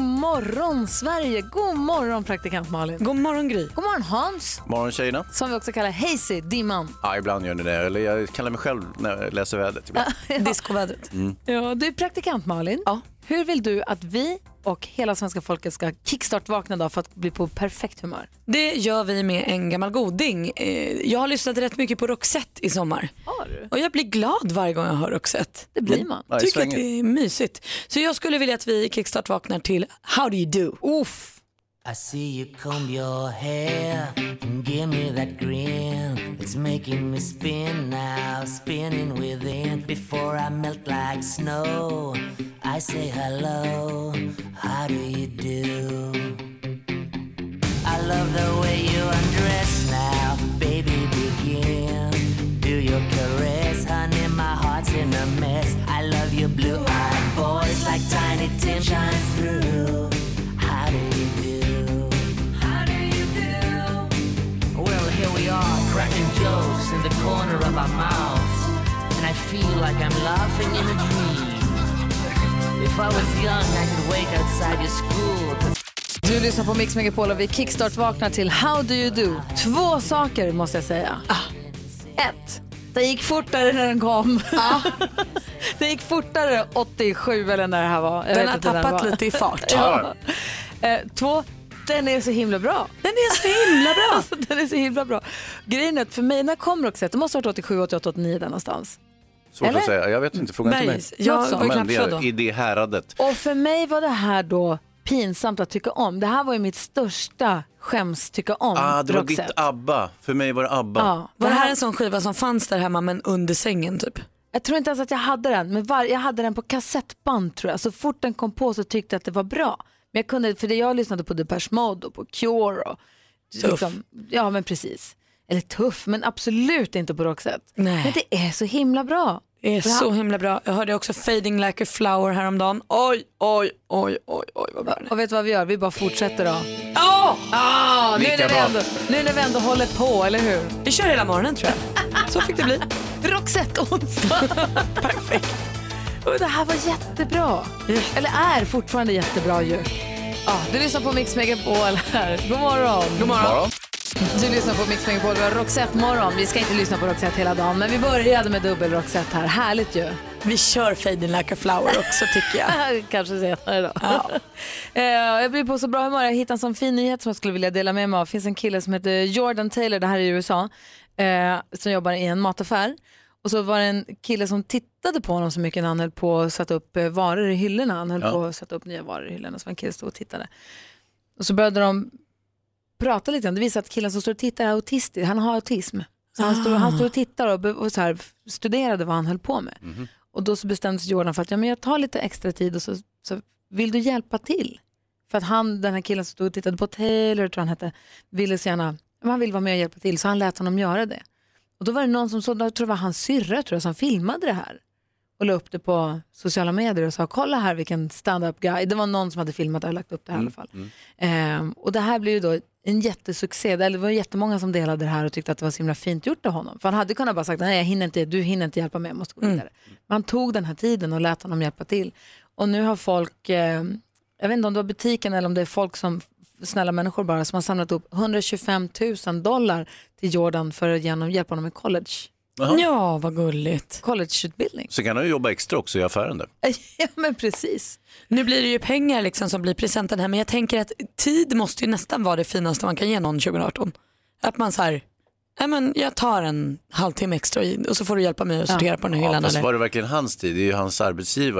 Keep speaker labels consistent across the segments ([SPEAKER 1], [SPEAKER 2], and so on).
[SPEAKER 1] morgon Sverige! God morgon praktikant Malin! God morgon Gry! God morgon Hans!
[SPEAKER 2] Morgon tjejerna.
[SPEAKER 1] Som vi också kallar Hazy, dimman.
[SPEAKER 2] Ja, ibland gör ni det. Eller jag kallar mig själv när jag läser vädret. ibland.
[SPEAKER 1] Diskovädret.
[SPEAKER 2] Mm.
[SPEAKER 1] Ja, du är praktikant Malin. Ja. Hur vill du att vi och hela svenska folket ska kickstart-vakna då för att bli på perfekt humör?
[SPEAKER 3] Det gör vi med en gammal goding. Eh, Jag har lyssnat rätt mycket på Roxette i sommar.
[SPEAKER 1] Har du?
[SPEAKER 3] Och jag blir glad varje gång jag hör Roxette.
[SPEAKER 1] Det blir man.
[SPEAKER 2] Ja, i
[SPEAKER 3] Tycker att
[SPEAKER 2] svängen.
[SPEAKER 3] det är mysigt. Så jag skulle vilja att vi kickstart vaknar till How do you do?
[SPEAKER 1] Uff.
[SPEAKER 4] I see you comb your hair and give me that grin. It's making me spin now, spinning within. Before I melt like snow, I say hello. How do you do? I love the way you undress now, baby. Begin, do your caress, honey. My heart's in a mess. I love your blue-eyed voice like Tiny Tim shines through. How do you do? How do you do? Well, here we are, cracking jokes in the corner of our mouths, and I feel like I'm laughing in a dream. If I was young, I could wait outside your school.
[SPEAKER 1] Du lyssnar på Mix Megapol och vi kickstart-vaknar till How Do You Do. Två saker måste jag säga.
[SPEAKER 3] Ah.
[SPEAKER 1] Ett, det gick fortare när den kom.
[SPEAKER 3] Ah.
[SPEAKER 1] det gick fortare 87 eller när det här var.
[SPEAKER 3] Den
[SPEAKER 1] Jag vet
[SPEAKER 3] har
[SPEAKER 1] inte när
[SPEAKER 3] tappat
[SPEAKER 1] det var.
[SPEAKER 3] lite i fart.
[SPEAKER 1] ja. eh, två, den är så himla bra.
[SPEAKER 3] Den är så himla bra.
[SPEAKER 1] Alltså, den är så himla bra. Grejen är att för mig, när kom Roxette? Det måste ha varit 87, 88, 89 där någonstans.
[SPEAKER 2] Svårt
[SPEAKER 1] Eller?
[SPEAKER 2] att säga. Jag vet inte. Fråga inte mig.
[SPEAKER 3] Bergs. Jag
[SPEAKER 1] Något sånt.
[SPEAKER 3] var ju
[SPEAKER 2] Men
[SPEAKER 3] knappt
[SPEAKER 2] det
[SPEAKER 3] född då.
[SPEAKER 2] är i det häradet.
[SPEAKER 1] Och för mig var det här då pinsamt att tycka om. Det här var ju mitt största skäms tycka om
[SPEAKER 2] Ah, det var ditt
[SPEAKER 1] Roxette.
[SPEAKER 2] ABBA. För mig var det ABBA.
[SPEAKER 1] Ja,
[SPEAKER 3] Var det här en sån skiva som fanns där hemma men under sängen typ?
[SPEAKER 1] Jag tror inte ens att jag hade den, men var, jag hade den på kassettband tror jag. Så fort den kom på så tyckte jag att det var bra. Men jag kunde, för det jag lyssnade på Depeche Mode och på Cure och liksom-
[SPEAKER 3] Tuff.
[SPEAKER 1] ja men precis. Eller tuff, men absolut inte på Roxette.
[SPEAKER 3] Nej.
[SPEAKER 1] Men det är så himla bra.
[SPEAKER 3] Det är
[SPEAKER 1] Bra.
[SPEAKER 3] så himla bra. Jag hörde också Fading like a flower häromdagen. Oj, oj, oj, oj, oj vad bra den är.
[SPEAKER 1] Och vet du vad vi gör? Vi bara fortsätter då.
[SPEAKER 3] Åh!
[SPEAKER 1] Ah, nu,
[SPEAKER 2] Lika
[SPEAKER 1] när vi
[SPEAKER 2] bra.
[SPEAKER 1] ändå, nu när vi ändå håller på, eller hur?
[SPEAKER 3] Vi kör hela morgonen tror jag. Så fick det bli.
[SPEAKER 1] Roxette-onsdag.
[SPEAKER 3] Perfekt.
[SPEAKER 1] Och Det här var jättebra. Eller är fortfarande jättebra ju. Ja, du lyssnar på Mix Megapol här. God morgon.
[SPEAKER 3] God morgon.
[SPEAKER 2] Morgon.
[SPEAKER 1] Du lyssnar på Mix Megapol. Vi har Roxette-morgon. Vi ska inte lyssna på Roxette hela dagen, men vi började med dubbel-Roxette här. Härligt ju.
[SPEAKER 3] Vi kör Fading like a flower också tycker jag.
[SPEAKER 1] Kanske senare då. Eh, jag blir på så bra humör. Jag hittade en sån fin nyhet som jag skulle vilja dela med mig av. Det finns en kille som heter Jordan Taylor, det här är i USA, eh, som jobbar i en mataffär. Och så var det en kille som tittade på honom så mycket när han höll på att sätta upp eh, varor i hyllorna. Han höll
[SPEAKER 2] Ja.
[SPEAKER 1] på att sätta upp nya varor i hyllorna, så var en kille som stod och tittade. Och så började de prata lite grann. Det visar att killen som står och tittar är autistisk, han har autism. Så han, stod, han stod och tittade och, be- och så här, studerade vad han höll på med. Och då så bestämde sig Jordan för att ja, men jag tar lite extra tid och så, så vill du hjälpa till? För att han, den här killen som stod och tittade på Taylor, tror han hette, ville så gärna, men han vill vara med och hjälpa till så han lät honom göra det. Och då var det någon som såg, jag tror det var hans syrra tror jag, som filmade det här och la upp det på sociala medier och sa kolla här vilken stand-up guy. Det var någon som hade filmat det och lagt upp det här i alla fall. Ehm, och det här blev ju då en jättesuccé. Eller det var jättemånga som delade det här och tyckte att det var så himla fint gjort av honom. För han hade kunnat bara sagt nej jag hinner inte, du hinner inte hjälpa mig, jag måste gå vidare. Men han tog den här tiden och lät honom hjälpa till. Och nu har folk, eh, jag vet inte om det var butiken eller om det är folk som snälla människor bara som har samlat upp 125 000 dollar till Jordan för att genom, hjälpa honom med college,
[SPEAKER 3] Ja, vad gulligt.
[SPEAKER 1] collegeutbildning.
[SPEAKER 2] Så kan han ju jobba extra också i affären. Där.
[SPEAKER 1] ja men precis.
[SPEAKER 3] Nu blir det ju pengar liksom som blir presenten här men jag tänker att tid måste ju nästan vara det finaste man kan ge någon 2018. Att man så här, "Nej, men jag tar en halvtimme extra i- och så får du hjälpa mig att sortera på den här
[SPEAKER 2] Ja,
[SPEAKER 3] hyllan.
[SPEAKER 2] fast
[SPEAKER 3] eller?
[SPEAKER 2] var det verkligen hans tid? Det är ju hans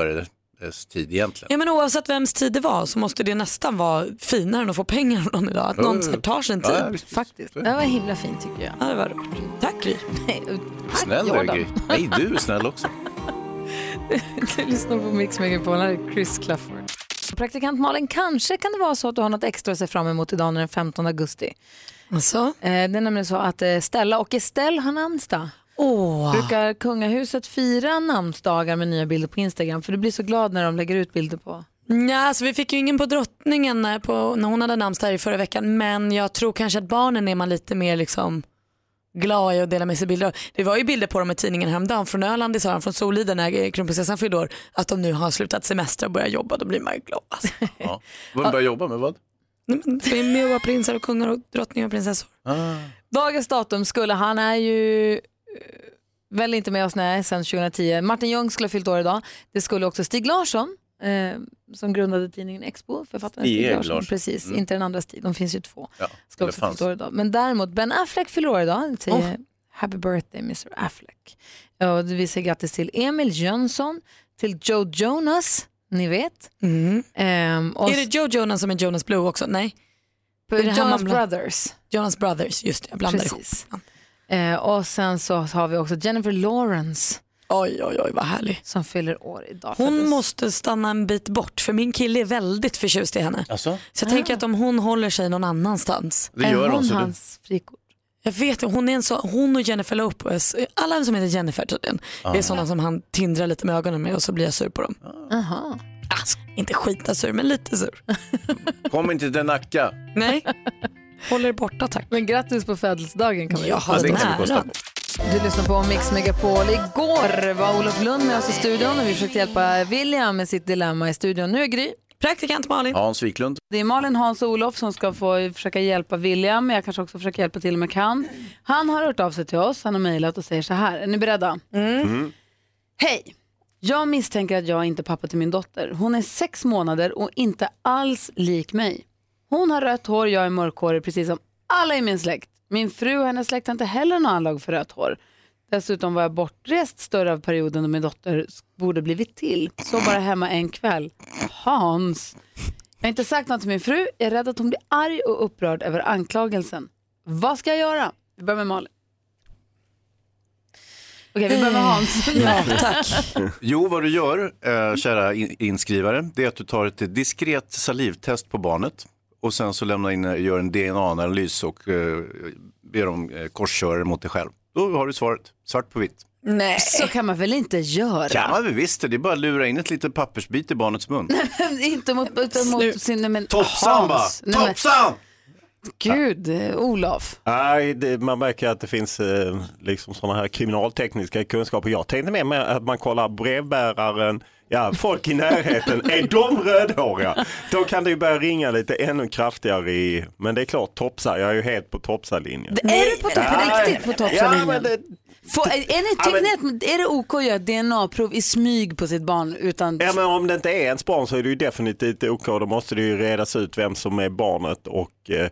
[SPEAKER 2] arbetsgivares tid egentligen.
[SPEAKER 3] Ja, men oavsett vems tid det var så måste det nästan vara finare än att få pengar av någon idag. Att någon så här tar sin
[SPEAKER 2] Ja,
[SPEAKER 3] tid.
[SPEAKER 2] visst.
[SPEAKER 1] Faktiskt. Det var himla fint tycker jag.
[SPEAKER 3] Ja, det var rart. Tack Gry.
[SPEAKER 2] Snäll du är, Gry. Nej, du är snäll också.
[SPEAKER 1] Du lyssnar på Mix Megapol, här är Chris Clafford. oss. Praktikant Malin, kanske kan det vara så att du har något extra att se fram emot idag när den 15 augusti.
[SPEAKER 3] Alltså?
[SPEAKER 1] Eh, Det är nämligen så att eh, Stella och Estelle har namnsdag.
[SPEAKER 3] Åh,
[SPEAKER 1] Brukar kungahuset fira namnsdagar med nya bilder på Instagram? För du blir så glad när de lägger ut bilder på.
[SPEAKER 3] Nej, alltså vi fick ju ingen på drottningen när, på, när hon hade namnsdag här i förra veckan men jag tror kanske att barnen är man lite mer liksom glad i att dela med sig bilder av. Det var ju bilder på dem i tidningen häromdagen från Öland, det sa de, från Soliden när kronprinsessan fyllde år, att de nu har slutat semester och börjar jobba, då blir man ju glad. Alltså.
[SPEAKER 2] Ja. Vad börjar jobba med vad?
[SPEAKER 3] Det är med och vara prinsar och kungar och drottningar och prinsessor.
[SPEAKER 1] Dagens datum skulle, han är ju eh, väl inte med oss nej, sen 2010. Martin Ljung skulle ha fyllt år idag. Det skulle också Stig Larsson eh, som grundade tidningen Expo, författaren Stig,
[SPEAKER 2] Stig
[SPEAKER 1] Larsson.
[SPEAKER 2] Larsson.
[SPEAKER 1] Precis,
[SPEAKER 2] Mm.
[SPEAKER 1] inte den andra Stig, de finns ju två.
[SPEAKER 2] Ja,
[SPEAKER 1] Ska
[SPEAKER 2] det
[SPEAKER 1] också
[SPEAKER 2] fanns.
[SPEAKER 1] fylla år idag. Men däremot Ben Affleck fyller år idag. Vi säger
[SPEAKER 3] Oh.
[SPEAKER 1] happy birthday Mr Affleck. Ja, Och vi säger grattis till Emil Jönsson, till Joe Jonas, ni vet.
[SPEAKER 3] Mm,
[SPEAKER 1] Ehm, och
[SPEAKER 3] Är det Joe Jonas som är Jonas Blue också? Nej,
[SPEAKER 1] Sp-
[SPEAKER 3] det här
[SPEAKER 1] Jonas
[SPEAKER 3] man bland-
[SPEAKER 1] Brothers.
[SPEAKER 3] Jonas Brothers, just det, jag blandar ihop.
[SPEAKER 1] Precis. Eh, och sen så har vi också Jennifer Lawrence
[SPEAKER 3] Oj, oj, oj vad härlig.
[SPEAKER 1] som fyller år idag.
[SPEAKER 3] Hon
[SPEAKER 1] Föddes-
[SPEAKER 3] måste stanna en bit bort för min kille är väldigt förtjust i henne.
[SPEAKER 2] Alltså?
[SPEAKER 3] Så jag tänker att om hon håller sig någon annanstans.
[SPEAKER 2] Det
[SPEAKER 1] Ah. är
[SPEAKER 2] gör
[SPEAKER 1] hon
[SPEAKER 2] hon. Så du...
[SPEAKER 1] hans frikort?
[SPEAKER 3] Jag vet hon är en så, hon och Jennifer Lopez, alla som heter Jennifer tydligen, det
[SPEAKER 2] Ah.
[SPEAKER 3] är sådana som han tindrar lite med ögonen med och så blir jag sur på dem.
[SPEAKER 1] Aha.
[SPEAKER 3] Ah, inte skita sur men lite sur.
[SPEAKER 2] Kom inte till Nacka.
[SPEAKER 3] Nej, håller er borta tack.
[SPEAKER 1] Men grattis på födelsedagen kan vi
[SPEAKER 3] Jag
[SPEAKER 2] Ja,
[SPEAKER 3] har
[SPEAKER 2] det kan vi
[SPEAKER 3] nära.
[SPEAKER 2] kosta på.
[SPEAKER 1] Du lyssnar på Mix Megapol. Igår var Olof Lund med oss i studion och vi försökte hjälpa William med sitt dilemma i studion. Nu är Gry.
[SPEAKER 3] Praktikant Malin.
[SPEAKER 2] Hans Wiklund.
[SPEAKER 1] Det är Malin, Hans och Olof som ska få försöka hjälpa William. Jag kanske också försöker hjälpa till om jag kan. Han har hört av sig till oss, han har mejlat och säger så här. Är ni beredda? Mm.
[SPEAKER 3] Mm.
[SPEAKER 1] Hej! Jag misstänker att jag inte är pappa till min dotter. Hon är sex månader och inte alls lik mig. Hon har rött hår, jag är mörkhårig precis som alla i min släkt. Min fru och hennes släkt har inte heller någon anlag för rött hår. Dessutom var jag bortrest större av perioden då min dotter borde blivit till. Så bara hemma en kväll. Hans. Jag har inte sagt något till min fru. Jag är rädd att hon blir arg och upprörd över anklagelsen. Vad ska jag göra? Vi börjar med Malin. Okej, vi börjar med Hans.
[SPEAKER 3] Ja, tack.
[SPEAKER 2] Jo, vad du gör, eh, kära in- inskrivare, det är att du tar ett diskret salivtest på barnet och sen så lämnar in, eh, gör en DNA-analys och eh, ber dem eh, korsköra det mot dig själv. Då har du svaret, svart på vitt.
[SPEAKER 3] Nej.
[SPEAKER 1] Så kan man väl inte göra?
[SPEAKER 2] Ja, man väl visst det, det är bara att lura in ett litet pappersbit i barnets mun.
[SPEAKER 1] inte mot, utan mot
[SPEAKER 3] Slut.
[SPEAKER 1] sin... nej, Men,
[SPEAKER 2] Topsan bara,
[SPEAKER 1] Hans. Nej, men
[SPEAKER 2] topsan!
[SPEAKER 1] Gud, eh, Olof.
[SPEAKER 5] Nej, det, man märker att det finns eh, liksom sådana här kriminaltekniska kunskaper. Jag tänkte mer med att man kollar brevbäraren, ja folk i närheten, är de rödhåriga? Då kan det ju börja ringa lite ännu kraftigare i, men det är klart topsar, jag är ju helt på topsarlinjen.
[SPEAKER 1] är du på, på riktigt på
[SPEAKER 5] Ja,
[SPEAKER 1] toppsarlinjen?
[SPEAKER 5] men det,
[SPEAKER 1] Får- är, är, ni, tycker ni att är det OK att göra DNA-prov i smyg på sitt barn utan...
[SPEAKER 5] ja, men om det inte är ens barn så är det ju definitivt OK, då måste det ju redas ut vem som är barnet och eh,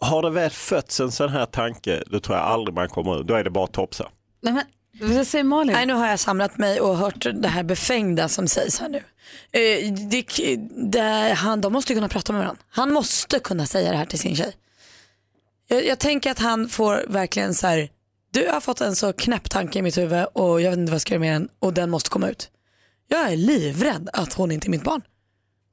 [SPEAKER 5] har det väl fötts en sån här tanke, då tror jag aldrig man kommer ut, då är det bara topsar.
[SPEAKER 1] Nej, men, vad säger Malin?
[SPEAKER 3] Nej, nu har jag samlat mig och hört det här befängda som sägs här nu. Eh, det, det, han, de måste ju kunna prata med varandra. Han måste kunna säga det här till sin tjej. Jag, jag tänker att han får verkligen så här, du har fått en så knäpp tanke i mitt huvud och jag vet inte vad jag ska göra med den och den måste komma ut. Jag är livrädd att hon inte är mitt barn.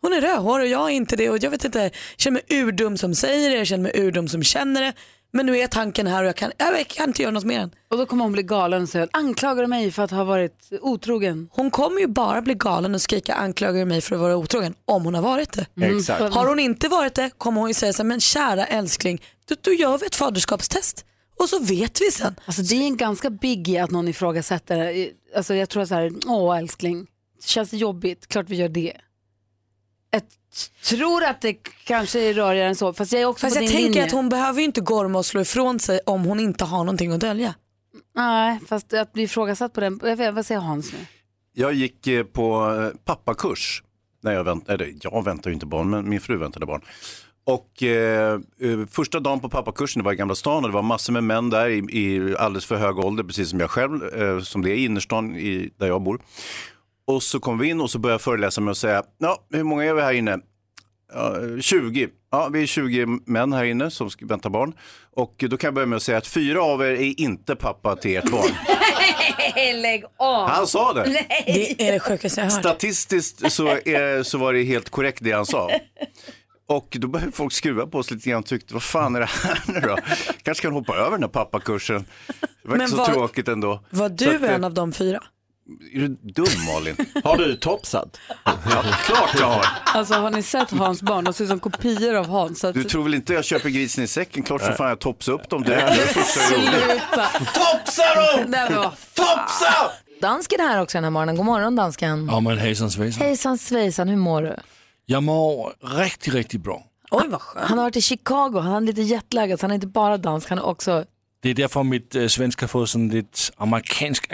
[SPEAKER 3] Hon är rödhårig och jag är inte det och jag vet inte, jag känner mig urdum som säger det, jag känner mig urdum som känner det. Men nu är tanken här och jag kan, jag kan inte göra något med den.
[SPEAKER 1] Och då kommer hon bli galen och säga, anklagar du mig för att ha varit otrogen?
[SPEAKER 3] Hon kommer ju bara bli galen och skrika anklagar mig för att vara otrogen om hon har varit det.
[SPEAKER 2] Mm.
[SPEAKER 3] Mm.
[SPEAKER 5] Exakt.
[SPEAKER 3] Har hon inte varit det kommer hon ju säga så här, men kära älskling, då, då gör vi ett faderskapstest och så vet vi sen.
[SPEAKER 1] Alltså det är en ganska biggie att någon ifrågasätter. det. Alltså jag tror så här, åh älskling, känns det jobbigt, klart vi gör det. Jag t- tror att det kanske är rörigare än så, fast jag är också
[SPEAKER 3] Fast
[SPEAKER 1] på
[SPEAKER 3] jag
[SPEAKER 1] din
[SPEAKER 3] tänker
[SPEAKER 1] linje.
[SPEAKER 3] att hon behöver ju inte gorma och slå ifrån sig om hon inte har någonting att dölja.
[SPEAKER 1] Nej, fast att bli ifrågasatt på den, jag vet, vad säger Hans nu?
[SPEAKER 2] Jag gick eh, på eh, pappakurs. När jag, vänt, eller, jag väntar ju inte barn, men min fru väntade barn. Och eh, eh, första dagen på pappakursen, det var i Gamla stan och det var massor med män där i, i alldeles för hög ålder, precis som jag själv, eh, som det är i innerstan i, där jag bor. Och så kom vi in och så började jag föreläsa med att säga, ja, hur många är vi här inne? ja, 20. Ja, vi är 20 män här inne som ska vänta barn. Och då kan jag börja med att säga att fyra av er är inte pappa till ert barn.
[SPEAKER 6] Lägg av!
[SPEAKER 2] Han sa det.
[SPEAKER 3] Det är det sjukaste jag har hört.
[SPEAKER 2] Statistiskt så, är, så var det helt korrekt det han sa. Och då började folk skruva på oss lite grann och tyckte, vad fan är det här nu då? Kanske kan hoppa över den här pappakursen. Det var
[SPEAKER 3] Men
[SPEAKER 2] inte så
[SPEAKER 3] vad-
[SPEAKER 2] tråkigt ändå.
[SPEAKER 3] Var
[SPEAKER 2] Så
[SPEAKER 3] du
[SPEAKER 2] att det-
[SPEAKER 3] en av de fyra?
[SPEAKER 2] Är du dum Malin?
[SPEAKER 5] Har du topsat?
[SPEAKER 2] Ja, klart jag har.
[SPEAKER 1] Alltså har ni sett Hans barn? De ser ut som kopior av Hans. Så att...
[SPEAKER 2] Du tror väl inte jag köper grisen i säcken? Klart för fan jag topsar upp dem direkt. Det är det första jag gjorde.
[SPEAKER 1] Sluta!
[SPEAKER 2] Topsa dem!
[SPEAKER 1] Nej, men vad fan.
[SPEAKER 2] Topsa!
[SPEAKER 1] Dansken är här också den här morgonen. God morgon dansken.
[SPEAKER 7] Ja men hejsan svejsan.
[SPEAKER 1] Hejsan svejsan, hur mår du?
[SPEAKER 7] Jag mår riktigt, riktigt bra.
[SPEAKER 3] Oj vad skönt.
[SPEAKER 1] Han har varit i Chicago, han är lite jetlaggad så han är inte bara dansk, han är också...
[SPEAKER 7] Det är därför mitt äh, svenska får sån lite amerikansk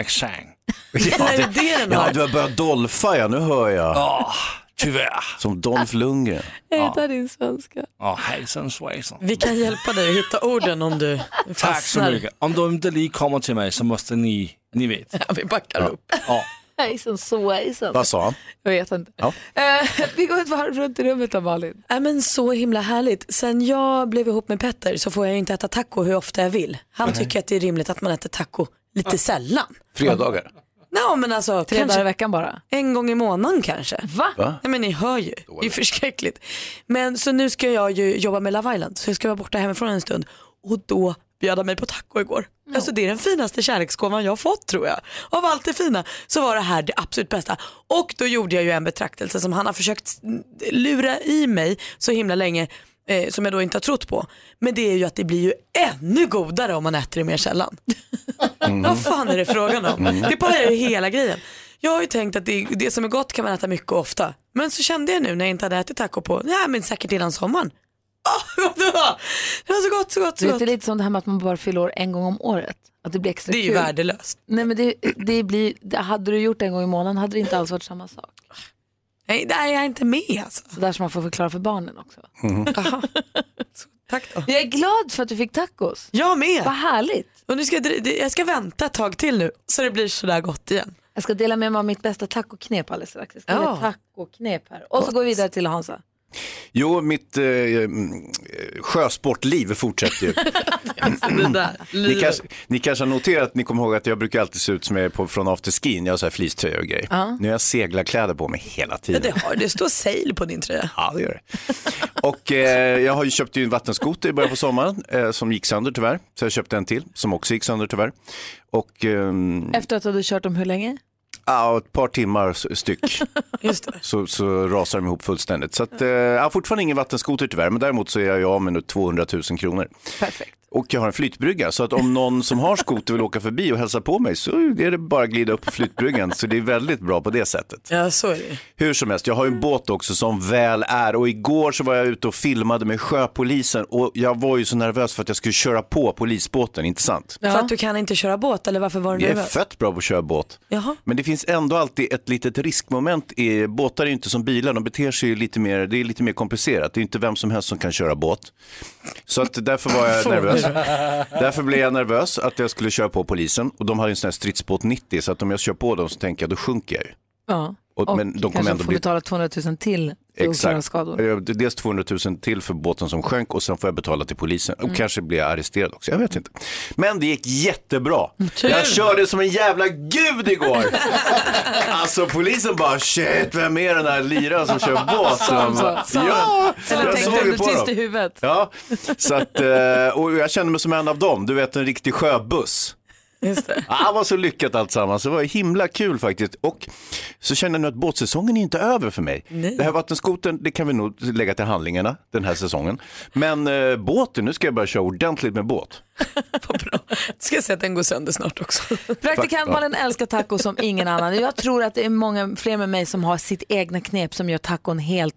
[SPEAKER 7] accent.
[SPEAKER 3] Är det det den
[SPEAKER 2] Ja,
[SPEAKER 3] har? Ah,
[SPEAKER 2] du har börjat dolfa ja, nu hör jag.
[SPEAKER 7] Åh, tyvärr.
[SPEAKER 2] Som Dolph Lundgren.
[SPEAKER 1] Jag hittar din svenska.
[SPEAKER 7] Åh, hejsan svejsan.
[SPEAKER 3] Vi kan hjälpa dig att hitta orden om du
[SPEAKER 7] Tack så
[SPEAKER 3] fastnar.
[SPEAKER 7] mycket. Om du inte lige kommer till mig så måste ni, ni vet.
[SPEAKER 3] Ja, vi backar upp.
[SPEAKER 7] Ja.
[SPEAKER 1] Hejsan svejsan.
[SPEAKER 2] Vad sa han?
[SPEAKER 1] Jag vet inte.
[SPEAKER 2] Ja.
[SPEAKER 1] Eh, vi går ett varv runt i rummet då Malin.
[SPEAKER 3] Ja, men så himla härligt. Sen jag blev ihop med Petter så får jag ju inte äta taco hur ofta jag vill. Han tycker att det är rimligt att man äter taco lite sällan.
[SPEAKER 2] Fredagar.
[SPEAKER 3] Ja men alltså
[SPEAKER 1] Tre dagar i
[SPEAKER 3] kanske
[SPEAKER 1] veckan bara.
[SPEAKER 3] en gång i månaden kanske.
[SPEAKER 1] Va?
[SPEAKER 3] Nej men ni hör ju, det är ju förskräckligt. Men så nu ska jag ju jobba med Love Island så jag ska vara borta hemifrån en stund och då bjöd han mig på taco igår. Alltså det är den finaste kärleksgåvan jag har fått tror jag. Av allt det fina så var det här det absolut bästa. Och då gjorde jag ju en betraktelse som han har försökt lura i mig så himla länge eh, som jag då inte har trott på. Men det är ju att det blir ju ännu godare om man äter det mer sällan. Vad fan är det frågan om? Det pajar ju hela grejen. Jag har ju tänkt att det, det som är gott kan man äta mycket och ofta. Men så kände jag nu när jag inte hade ätit taco på, nej men säkert innan sommaren. Åh, det, var, det var så gott, så gott, så
[SPEAKER 1] Du vet,
[SPEAKER 3] gott.
[SPEAKER 1] det är lite som det här med att man bara fyller år en gång om året. Att det blir extra
[SPEAKER 3] Det är ju
[SPEAKER 1] kul.
[SPEAKER 3] värdelöst.
[SPEAKER 1] Nej men det, det blir, det, hade du gjort det en gång i månaden hade det inte alls varit samma sak.
[SPEAKER 3] Nej, där är jag inte med alltså. Mm.
[SPEAKER 1] Så där som man får förklara för barnen också.
[SPEAKER 3] Tack då.
[SPEAKER 1] Jag är glad för att du fick tacos.
[SPEAKER 3] Jag med.
[SPEAKER 1] Vad härligt.
[SPEAKER 3] Och nu ska jag, dri- det- jag ska vänta ett tag till nu så det blir sådär gott igen.
[SPEAKER 1] Jag ska dela med mig av mitt bästa tacoknep alldeles strax. Jag ska
[SPEAKER 3] Ja.
[SPEAKER 1] ja. tacoknep här. Och så går vi vidare till Hansa.
[SPEAKER 2] Jo, mitt eh, mm, eh, sjösportliv fortsätter ju. ni, kanske, ni kanske har noterat att ni kommer ihåg att jag brukar alltid se ut som jag är på, från afterskin. Jag har så här fleecetröja och grejer. Nu har jag seglarkläder på mig hela tiden.
[SPEAKER 3] Det, har, det står sail på din tröja.
[SPEAKER 2] Ja, det gör det. Och eh, jag har ju köpt ju en vattenskoter i början på sommaren eh, som gick sönder tyvärr. Så jag köpte en till som också gick sönder tyvärr. Och ehm,
[SPEAKER 1] Efter att du hade kört dem hur länge?
[SPEAKER 2] ja, ett par timmar s- styck
[SPEAKER 3] Just det.
[SPEAKER 2] så, så rasar de ihop fullständigt. Så att, eh, jag har fortfarande ingen vattenskoter tyvärr, men däremot så är jag ju av med nu 200 000 kronor.
[SPEAKER 1] Perfekt.
[SPEAKER 2] Och jag har en flytbrygga, så att om någon som har skoter vill åka förbi och hälsa på mig så är det bara att glida upp på flytbryggan. Så det är väldigt bra på det sättet.
[SPEAKER 3] Ja så är det
[SPEAKER 2] Hur som helst, jag har ju
[SPEAKER 3] Mm.
[SPEAKER 2] en båt också som väl är och igår så var jag ute och filmade med sjöpolisen och jag var ju så nervös för att jag skulle köra på polisbåten, inte sant?
[SPEAKER 3] För att du kan inte köra båt eller varför var du
[SPEAKER 2] Jag är
[SPEAKER 3] nervös?
[SPEAKER 2] fett bra på att köra båt.
[SPEAKER 3] Jaha.
[SPEAKER 2] Men det finns ändå alltid ett litet riskmoment. I, båtar är ju inte som bilar, de beter sig ju lite mer, det är lite mer komplicerat. Det är inte vem som helst som kan köra båt. Så att därför var jag nervös. Därför blev jag nervös att jag skulle köra på polisen och de hade ju en sån här stridsbåt 90 så att om jag kör på dem så tänker jag då sjunker jag ju.
[SPEAKER 1] Ja.
[SPEAKER 2] Och- men de kommer
[SPEAKER 1] kanske
[SPEAKER 2] ändå
[SPEAKER 1] får
[SPEAKER 2] bli-
[SPEAKER 1] betala 200 000 till för oklara skador.
[SPEAKER 2] Eh, Dels 200 000 till för båten som sjönk och sen får jag betala till polisen.
[SPEAKER 1] Mm.
[SPEAKER 2] Och kanske blir jag arresterad också, jag vet inte. Men det gick jättebra. Jag körde som en jävla gud igår. alltså polisen bara shit, vem är den här liraren som kör båt?
[SPEAKER 1] Sa de så? Sa de?
[SPEAKER 2] Ja,
[SPEAKER 1] Eller
[SPEAKER 2] jag såg
[SPEAKER 1] tänkte
[SPEAKER 2] ju
[SPEAKER 1] du
[SPEAKER 2] på
[SPEAKER 1] tyst i
[SPEAKER 2] dem.
[SPEAKER 1] huvudet?
[SPEAKER 2] Ja, så att, eh, och jag kände mig som en av dem, du vet en riktig sjöbuss.
[SPEAKER 3] Just det.
[SPEAKER 2] Ja, det var så lyckat alltsammans. Det var himla kul faktiskt. Och så känner jag nu att båtsäsongen är inte över för mig. Det här vattenskoten, det kan vi nog lägga till handlingarna den här säsongen. Men eh, båten, nu ska jag börja köra ordentligt med båt.
[SPEAKER 3] Vad bra. Ska jag se att den går sönder snart också.
[SPEAKER 1] Praktikant Malin älskar taco som ingen annan. Jag tror att det är många fler med mig som har sitt egna knep som gör tacon helt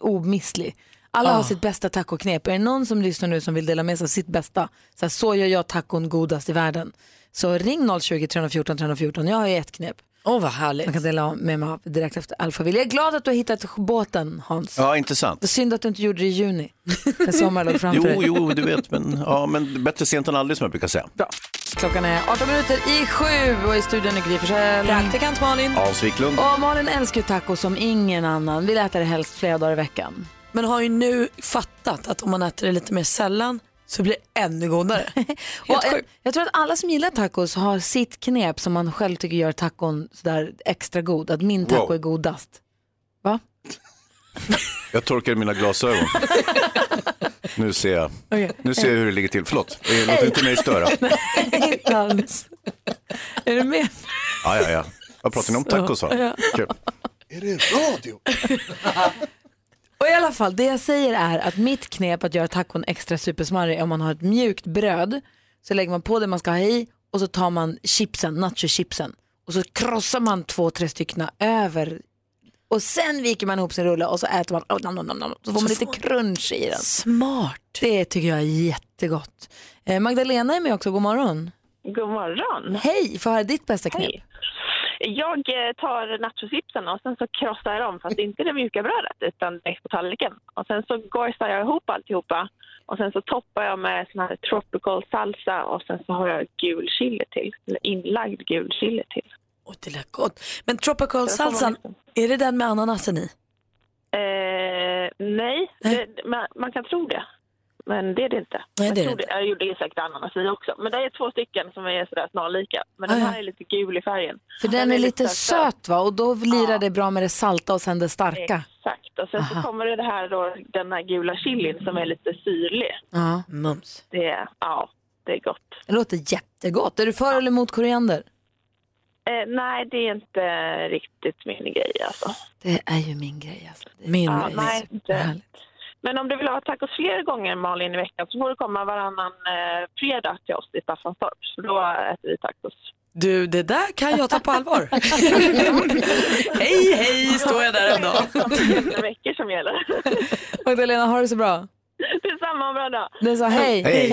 [SPEAKER 1] omisslig. Alla
[SPEAKER 3] Ah.
[SPEAKER 1] har sitt bästa tacoknep. Är det någon som lyssnar nu som vill dela med sig av sitt bästa, så, här, så gör jag tacon godast i världen. Så ring 020 314 314. Jag har ju ett knep.
[SPEAKER 3] Åh vad härligt.
[SPEAKER 1] Jag kan dela med mig av direkt efter Alphaville. Jag är glad att du har hittat båten Hans.
[SPEAKER 2] Ja, intressant.
[SPEAKER 1] Synd att du inte gjorde det i juni, när sommaren låg framför dig.
[SPEAKER 2] Jo, jo, du vet, men, ja, men bättre sent än aldrig som jag brukar säga.
[SPEAKER 1] Klockan är 18 minuter i sju och i studion är Gry Forssell.
[SPEAKER 3] Praktikant Malin.
[SPEAKER 2] Hans Wiklund.
[SPEAKER 1] Och Malin älskar ju tacos som ingen annan. Vill äta det helst flera dagar i veckan.
[SPEAKER 3] Men har ju nu fattat att om man äter det lite mer sällan så blir det ännu godare.
[SPEAKER 1] Och jag, jag tror att alla som gillar tacos har sitt knep som man själv tycker gör tacon sådär extra god. Att min taco
[SPEAKER 2] Wow.
[SPEAKER 1] är godast.
[SPEAKER 2] Jag torkade mina glasögon. nu ser jag.
[SPEAKER 1] Okej.
[SPEAKER 2] Nu ser jag hur det ligger till. Förlåt, Eh, låt inte mig störa.
[SPEAKER 1] Nej, inte alls. Är du med?
[SPEAKER 2] Ja, ja, ja. Vad pratar ni om? Tacos, va? Kul.
[SPEAKER 8] Är det radio?
[SPEAKER 1] Och i alla fall, det jag säger är att mitt knep att göra tacon extra supersmarrig är om man har ett mjukt bröd så lägger man på det man ska ha i och så tar man chipsen, nachochipsen och så krossar man två, tre stycken över och sen viker man ihop sin rulle och så äter man, oh, nam, nam, nam, nam. så får man lite crunch i den.
[SPEAKER 3] Smart.
[SPEAKER 1] Det tycker jag är jättegott. Eh, Magdalena är med också, god morgon.
[SPEAKER 9] God morgon.
[SPEAKER 1] Hej, få höra ditt bästa knep.
[SPEAKER 9] Hej. Jag eh, tar nachosipsarna och sen så krossar jag dem, fast inte det mjuka brödet utan direkt på tallriken. Och sen så gojsar jag ihop alltihopa och sen så toppar jag med sån här tropical salsa och sen så har jag gul chili till, eller inlagd gul chili till.
[SPEAKER 3] Och det lät gott. Men tropical salsan, är det den med ananasen i?
[SPEAKER 9] Eh, nej, det, man, man kan tro det. Men det är det inte.
[SPEAKER 3] Nej, det är
[SPEAKER 9] jag,
[SPEAKER 3] det
[SPEAKER 9] tror jag gjorde det säkert ananas i också. Men det är två stycken som är sådär snarlika. Men den
[SPEAKER 1] Ah, ja.
[SPEAKER 9] här är lite gul i färgen.
[SPEAKER 1] För den är lite söt va och då lirar det bra med det salta och sen det starka.
[SPEAKER 9] Exakt. Och sen
[SPEAKER 1] Aha.
[SPEAKER 9] så kommer det här då, den här gula chilin som är lite syrlig.
[SPEAKER 1] Ja.
[SPEAKER 3] Mums.
[SPEAKER 9] Det är, ja, det är gott.
[SPEAKER 1] Det låter jättegott. Är du för eller emot koriander?
[SPEAKER 9] Eh, nej, det är inte riktigt min grej alltså.
[SPEAKER 1] Det är ju min grej alltså. Det är
[SPEAKER 3] Min
[SPEAKER 9] Ja,
[SPEAKER 3] grej.
[SPEAKER 9] nej, inte. Men om du vill ha tacos fler gånger Malin i veckan så får du komma varannan eh, fredag till oss i Staffanstorp. Så då äter vi tacos.
[SPEAKER 3] Du, det där kan jag ta på allvar. hej, hej, står jag där en dag.
[SPEAKER 9] Det är veckor som gäller.
[SPEAKER 1] Magdalena, har det så bra.
[SPEAKER 9] Detsamma, bra dag.
[SPEAKER 1] Den sa hej.
[SPEAKER 2] Hej.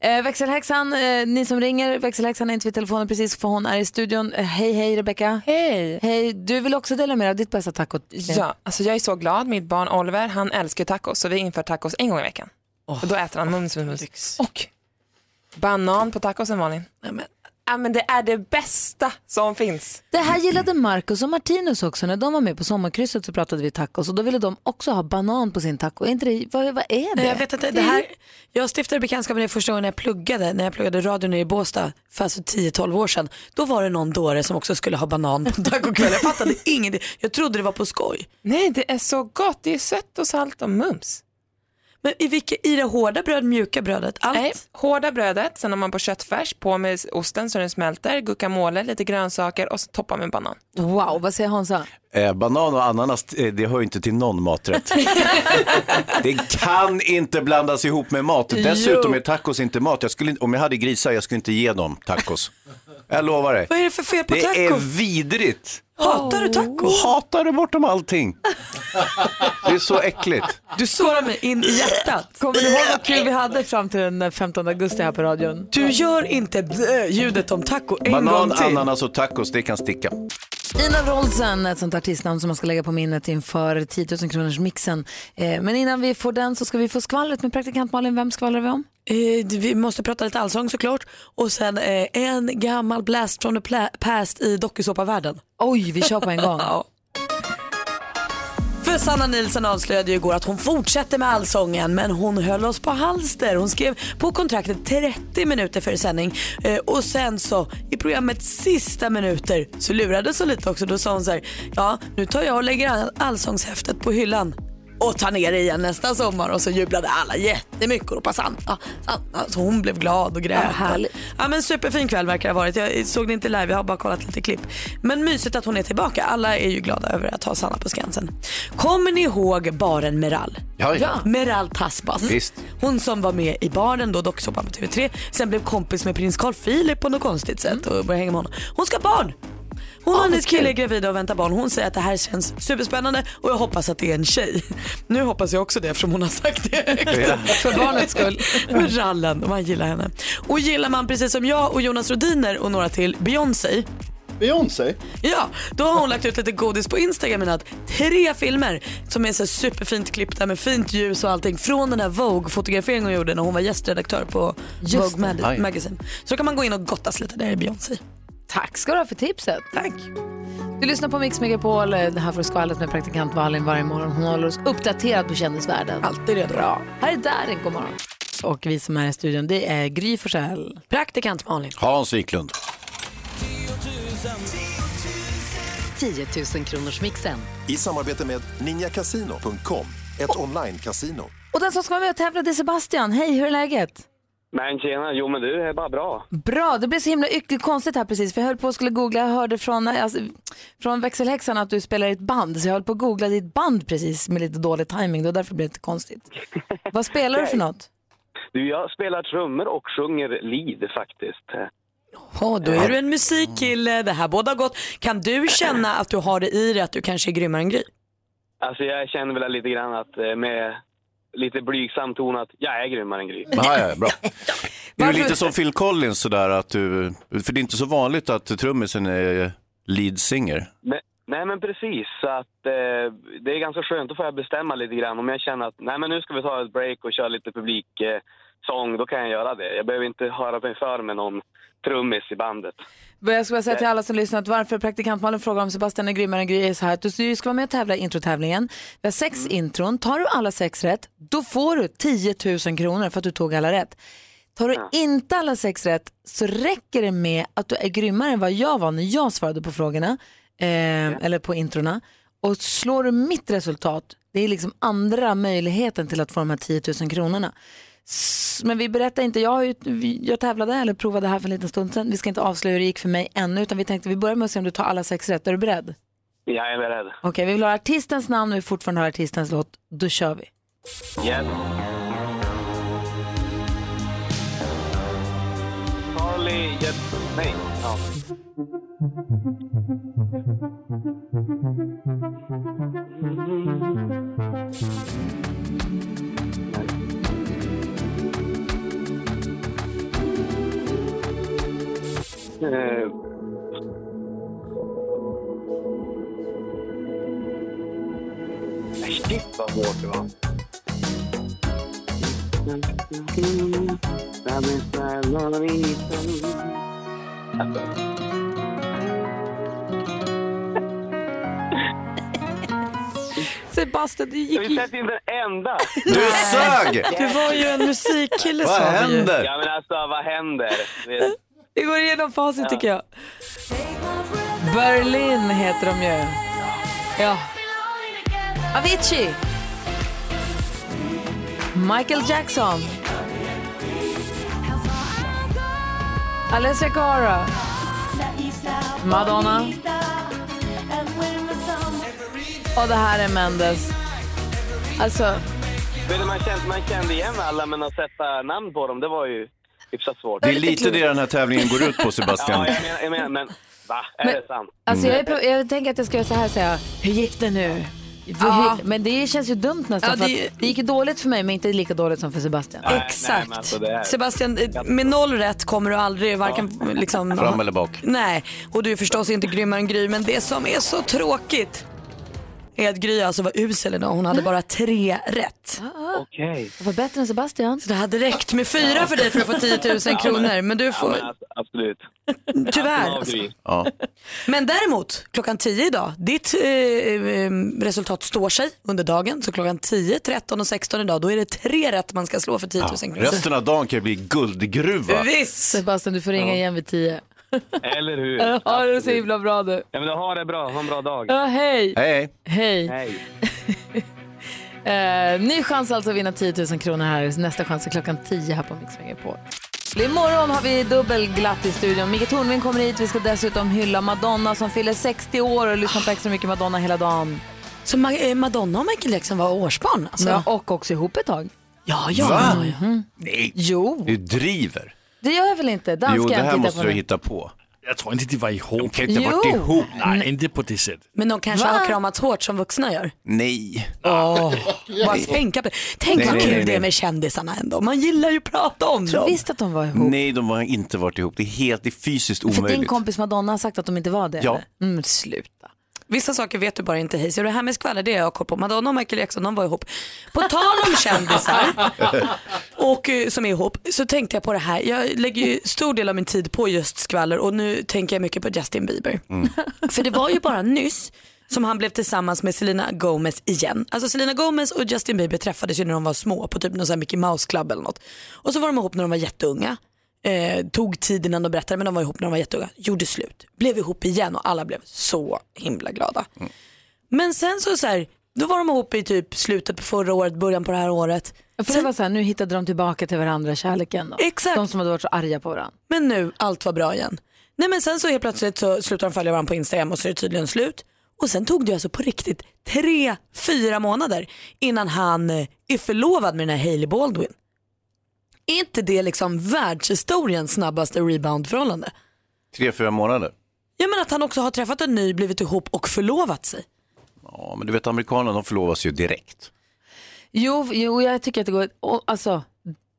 [SPEAKER 1] hej. Eh, växelhäxan, eh, ni som ringer, växelhäxan är inte vid telefonen precis för hon är i studion. Eh, hej, hej Rebecka.
[SPEAKER 10] Hej!
[SPEAKER 1] Hej, du vill också dela med dig av ditt bästa taco.
[SPEAKER 10] Ja, alltså jag är så glad. Mitt barn Oliver, han älskar ju tacos, så vi inför tacos en gång i veckan. och då äter han mums, mums, mums. Och banan på tacosen, Malin. Ja, men, ja, men det är det bästa som finns.
[SPEAKER 1] Det här gillade Marcus och Martinus också. När de var med på sommarkrysset så pratade vi tacos och då ville de också ha banan på sin taco. Är inte det, vad, vad är det?
[SPEAKER 3] Nej, Jag vet inte, det här, jag stiftade bekantskap med det första gången jag pluggade, när jag pluggade radio nere i Båstad för alltså 10-12 år sedan. Då var det någon dåre som också skulle ha banan på tacokväll. Jag fattade ingenting. Jag trodde det var på skoj.
[SPEAKER 10] Nej, det är så gott. Det är sött och salt och mums.
[SPEAKER 3] Men i, vilka, i det hårda bröd, mjuka brödet, allt?
[SPEAKER 10] Nej, hårda brödet, sen har man på köttfärs, på med osten så den smälter, guacamole, lite grönsaker och så toppar med banan.
[SPEAKER 1] Wow, vad säger Hansa?
[SPEAKER 2] Eh, banan och ananas, eh, det hör ju inte till någon maträtt. det kan inte blandas ihop med mat. Dessutom är tacos inte mat. Jag skulle, inte- om jag hade grisar, jag skulle inte ge dem tacos. Jag lovar dig.
[SPEAKER 3] Vad är det för fel på
[SPEAKER 2] Det är
[SPEAKER 3] taco?
[SPEAKER 2] vidrigt.
[SPEAKER 3] Hatar du taco?
[SPEAKER 2] Hatar det bortom allting. Det är så äckligt.
[SPEAKER 3] Du sårar mig in i hjärtat.
[SPEAKER 1] Kommer du ihåg vad kul vi hade fram till den 15 augusti här på radion?
[SPEAKER 3] Du gör inte blö- ljudet om taco en
[SPEAKER 2] Banan,
[SPEAKER 3] gång till.
[SPEAKER 2] ananas och tacos, det kan sticka.
[SPEAKER 1] Ina Wroldsen, ett sånt artistnamn som man ska lägga på minnet inför 10 000 kronors mixen. Eh, men innan vi får den så ska vi få skvallret med praktikant Malin. Vem skvallrar vi om?
[SPEAKER 3] Eh, vi måste prata lite allsång såklart och sen eh, en gammal blast from the pla- past i dokusåpavärlden.
[SPEAKER 1] Oj, vi kör på en gång.
[SPEAKER 3] För Sanna Nilsson avslöjade ju igår att hon fortsätter med allsången men hon höll oss på halster. Hon skrev på kontraktet 30 minuter före sändning eh, och sen så i programmets sista minuter så lurades hon lite också. Då sa hon så här, ja nu tar jag och lägger all- allsångshäftet på hyllan och tar ner det igen nästa sommar och så jublade alla jättemycket och ropade Sanna, Sanna. Så hon blev glad och grät.
[SPEAKER 1] Ja, härligt.
[SPEAKER 3] Ja men superfin kväll verkar det ha varit. Jag såg det inte live, jag har bara kollat lite klipp. Men mysigt att hon är tillbaka. Alla är ju glada över att ha Sanna på Skansen. Kommer ni ihåg baren Meral?
[SPEAKER 2] Ja, ja.
[SPEAKER 3] Meral Tasbas.
[SPEAKER 2] Visst.
[SPEAKER 3] Hon som var med i baren då, dokusåpan på TV3. Sen blev kompis med prins Carl Philip på något konstigt sätt
[SPEAKER 1] Mm.
[SPEAKER 3] och började hänga med honom. Hon ska ha barn! Hon och hennes kille är gravida och väntar barn. Hon säger att det här känns superspännande och jag hoppas att det är en tjej. Nu hoppas jag också det eftersom hon har sagt det högt. För barnets skull. För rallen, man gillar henne. Och gillar man precis som jag och Jonas Rodiner och några till Beyoncé
[SPEAKER 8] Beyoncé?
[SPEAKER 3] Ja, då har hon lagt ut lite godis på Instagram i natt. Tre filmer som är så här superfint klippta med fint ljus och allting från den här Vogue-fotograferingen hon gjorde när hon var gästredaktör på Vogue Mag-
[SPEAKER 2] Aj.
[SPEAKER 3] Magazine. Så då kan man gå in och gottas lite där i Beyoncé.
[SPEAKER 1] Tack ska du ha för tipset.
[SPEAKER 3] Tack.
[SPEAKER 1] Du lyssnar på Mix Megapol. Det här får du skvallret med praktikant Malin varje morgon. Hon håller oss uppdaterad på kändisvärlden. Alltid redo. Bra. Här är Darin, god morgon. Och vi som är i studion, det är Gry Forssell. Praktikant Malin.
[SPEAKER 2] Hans Wiklund.
[SPEAKER 11] 10 000 kronors mixen.
[SPEAKER 12] I samarbete med ninjakasino.com, ett
[SPEAKER 3] Oh.
[SPEAKER 12] online-casino.
[SPEAKER 1] Och den som ska vara med och tävla det är Sebastian. Hej, hur är läget?
[SPEAKER 13] Men tjena, jo men du är bara bra.
[SPEAKER 1] Bra, det blev så himla yck- konstigt här precis för jag höll på att skulle googla, jag hörde från, alltså, från växelhäxan att du spelar i ett band så jag höll på att googla ditt band precis med lite dålig timing då därför blev det lite konstigt. Vad spelar du för något?
[SPEAKER 13] Du, jag spelar trummor och sjunger lead faktiskt.
[SPEAKER 3] Ja, då är du en musikkille. Det här båda gott. Kan du känna att du har det i dig att du kanske är grymmare än Gry?
[SPEAKER 13] Alltså jag känner väl lite grann att eh, med lite blygsam ton att jag är grymmare än Gry.
[SPEAKER 2] Ah, ja, bra. Det är ju lite som Phil Collins sådär att du, för det är inte så vanligt att trummisen är lead singer.
[SPEAKER 13] Men, nej men precis, så att eh, det är ganska skönt, då får jag bestämma lite grann. Om jag känner att nej men nu ska vi ta ett break och köra lite publiksång, eh, sång, då kan jag göra det. Jag behöver inte höra mig för med någon trummis i bandet.
[SPEAKER 1] Men Jag ska bara säga till alla som lyssnar att varför praktikantmannen frågar om Sebastian är grymmare än Gry är så här att du- du ska vara med och tävla i introtävlingen. Vi har sex intron. Tar du alla sex rätt, då får du 10 000 kronor för att du tog alla rätt. Tar du inte alla sex rätt så räcker det med att du är grymmare än vad jag var när jag svarade på frågorna, eh, eller på introna. Och slår du mitt resultat, det är liksom andra möjligheten till att få de här 10 000 kronorna. S- Men vi berättar inte, jag, har ju, vi- jag tävlade eller provade här för en liten stund sedan. Vi ska inte avslöja hur det gick för mig ännu utan vi tänkte vi börjar med att se om du tar alla sex rätt. Är du beredd?
[SPEAKER 13] Jag är beredd.
[SPEAKER 1] Okej, vi vill ha artistens namn och vi fortfarande har artistens låt. Då kör vi.
[SPEAKER 13] Yes. Harley, yes. Nej. Ja. Eh, Shit vad hårt det var.
[SPEAKER 1] Sebastian, du gick
[SPEAKER 13] Vi sätter inte en enda.
[SPEAKER 2] Du sög!
[SPEAKER 3] Du var ju en musikkille
[SPEAKER 2] Vad
[SPEAKER 3] sa vi ju.
[SPEAKER 2] händer?
[SPEAKER 13] Ja men alltså vad händer?
[SPEAKER 1] Vi går igenom facit
[SPEAKER 13] Ja.
[SPEAKER 1] tycker jag. Berlin heter de ju. Ja. Avicii. Michael Jackson. Alessia Cara. Madonna. Och det här är Mendes. Alltså,
[SPEAKER 13] Vet du, man, kände, man kände igen alla men att sätta namn på dem det var ju hyfsat svårt.
[SPEAKER 2] Det är lite det den här tävlingen går ut på Sebastian.
[SPEAKER 13] Ja jag menar, jag menar men va? Är det sant?
[SPEAKER 1] alltså jag, är, på- jag tänker att jag ska göra så här säga. Hur gick det nu? För
[SPEAKER 3] Ja.
[SPEAKER 1] hur- Men det känns ju dumt nästan.
[SPEAKER 3] Ja,
[SPEAKER 1] för
[SPEAKER 3] det-
[SPEAKER 1] att det gick ju dåligt för mig men inte lika dåligt som för Sebastian.
[SPEAKER 3] Exakt.
[SPEAKER 14] alltså
[SPEAKER 3] Sebastian, eh, med noll rätt kommer du aldrig varken liksom...
[SPEAKER 2] Fram eller bak.
[SPEAKER 3] Nej, och du är förstås inte grymmare än Gry, men det som är så tråkigt är att Gry alltså var usel idag. Hon hade bara tre rätt.
[SPEAKER 15] Ah.
[SPEAKER 2] Mm.
[SPEAKER 13] Okej.
[SPEAKER 1] Jag Mm. var bättre än Sebastian.
[SPEAKER 3] Så det hade räckt med fyra för dig för att få 10 000 kronor, men du får...
[SPEAKER 13] Ja, men, alltså, absolut.
[SPEAKER 3] Tyvärr.
[SPEAKER 13] Ja,
[SPEAKER 3] Alltså.
[SPEAKER 13] Gry.
[SPEAKER 2] Ja.
[SPEAKER 3] Men däremot, klockan 10 idag, ditt eh, eh, resultat står sig under dagen. Så klockan 10, 13 och 16 idag, då är det tre rätt man ska slå för 10 000 kronor.
[SPEAKER 2] Resten av dagen kan ju bli guldgruva.
[SPEAKER 3] Visst!
[SPEAKER 1] Sebastian, du får ringa igen vid tio.
[SPEAKER 13] Eller hur?
[SPEAKER 1] Ha det så himla bra du.
[SPEAKER 13] Ja men då har det bra, ha en bra dag.
[SPEAKER 1] Ja, hej.
[SPEAKER 2] Hej.
[SPEAKER 1] Hej.
[SPEAKER 13] Hej.
[SPEAKER 1] Eh, ny chans alltså att vinna 10 000 kronor här. Nästa chans är klockan 10 här på Mix på. Imorgon har vi dubbel glatt i studion. Micke Tornving kommer hit. Vi ska dessutom hylla Madonna som fyller 60 år och lyssna på extra mycket Madonna hela dagen.
[SPEAKER 3] Så eh, Madonna och Michael Jackson var årsbarn alltså?
[SPEAKER 1] Ja, och också ihop ett tag.
[SPEAKER 3] Ja,
[SPEAKER 2] Va?
[SPEAKER 1] Mhm.
[SPEAKER 3] Mm-hmm.
[SPEAKER 2] Nej.
[SPEAKER 1] Jo.
[SPEAKER 2] Du driver.
[SPEAKER 1] Det gör jag väl inte? Dansken
[SPEAKER 2] jo, det här
[SPEAKER 1] tittar
[SPEAKER 2] måste
[SPEAKER 1] på
[SPEAKER 2] du
[SPEAKER 1] nu.
[SPEAKER 2] hitta på.
[SPEAKER 7] Jag tror inte de var ihop. De
[SPEAKER 2] kan inte ha varit
[SPEAKER 1] Jo.
[SPEAKER 2] ihop.
[SPEAKER 7] Nej, inte på det sättet.
[SPEAKER 3] Men de kanske
[SPEAKER 7] Va?
[SPEAKER 3] har kramats hårt som vuxna gör.
[SPEAKER 2] Nej.
[SPEAKER 3] Bara tänka på det. Tänk
[SPEAKER 2] Nej,
[SPEAKER 3] vad
[SPEAKER 2] nej,
[SPEAKER 3] kul
[SPEAKER 2] nej,
[SPEAKER 3] det är
[SPEAKER 2] nej.
[SPEAKER 3] med kändisarna ändå. Man gillar ju att prata om
[SPEAKER 1] tror
[SPEAKER 3] dem.
[SPEAKER 1] visst att de var ihop.
[SPEAKER 2] Nej, de har inte varit ihop. Det är helt det är fysiskt
[SPEAKER 1] För din
[SPEAKER 2] omöjligt.
[SPEAKER 1] kompis Madonna har sagt att de inte var det?
[SPEAKER 2] Ja.
[SPEAKER 1] eller? Mm, sluta.
[SPEAKER 3] Vissa saker vet du bara inte Hayes. Och det här med skvaller det är jag koll på. Madonna och Michael Jackson de var ihop. På tal om kändisar och eh, som är ihop så tänkte jag på det här. Jag lägger ju stor del av min tid på just skvaller och nu tänker jag mycket på Justin Bieber. För det var ju bara nyss som han blev tillsammans med Selena Gomez igen. Alltså Selena Gomez och Justin Bieber träffades ju när de var små på typ någon sån här Mickey Mouse Club eller något. Och så var de ihop när de var jätteunga. Eh, tog tid innan de berättade men de var ihop när de var jätteunga. Gjorde slut, blev ihop igen och alla blev så himla glada. Men sen så, så här, då var de ihop i typ slutet på förra året, början på det här året.
[SPEAKER 1] För det var så här, nu hittade de tillbaka till varandra, kärleken. Då.
[SPEAKER 3] Exakt.
[SPEAKER 1] De som hade varit så arga på varandra.
[SPEAKER 3] Men nu, allt var bra igen. Nej men sen så helt plötsligt så slutar de följa varandra på Instagram och så är det tydligen slut. Och sen tog det ju alltså på riktigt tre, fyra månader innan han eh, är förlovad med den här Hailey Baldwin. Är inte det liksom världshistoriens snabbaste rebound-förhållande?
[SPEAKER 2] Tre, fyra månader.
[SPEAKER 3] Jag menar att han också har träffat en ny, blivit ihop och förlovat sig.
[SPEAKER 2] Ja, men du vet amerikanerna de förlovas ju direkt.
[SPEAKER 1] Jo, jo, jag tycker att det går... Och, alltså,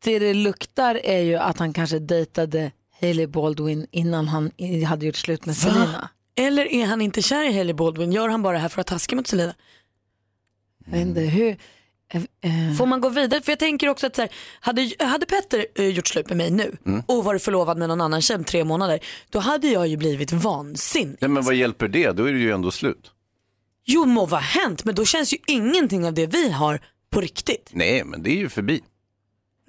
[SPEAKER 1] det det luktar är ju att han kanske dejtade Hailey Baldwin innan han i- hade gjort slut med Selena.
[SPEAKER 3] Eller är han inte kär i Hailey Baldwin? Gör han bara det här för att vara taskig mot Selena?
[SPEAKER 1] Jag vet inte hur...
[SPEAKER 3] eh, Får man gå vidare? För jag tänker också att så här, hade, hade Petter eh, gjort slut med mig nu
[SPEAKER 2] Mm.
[SPEAKER 3] och varit förlovad med någon annan tjej om tre månader, då hade jag ju blivit vansinnig.
[SPEAKER 2] Nej, men vad hjälper det? Då är det ju ändå slut.
[SPEAKER 3] Jo må vad hänt, men då känns ju ingenting av det vi har på riktigt.
[SPEAKER 2] Nej, men det är ju förbi.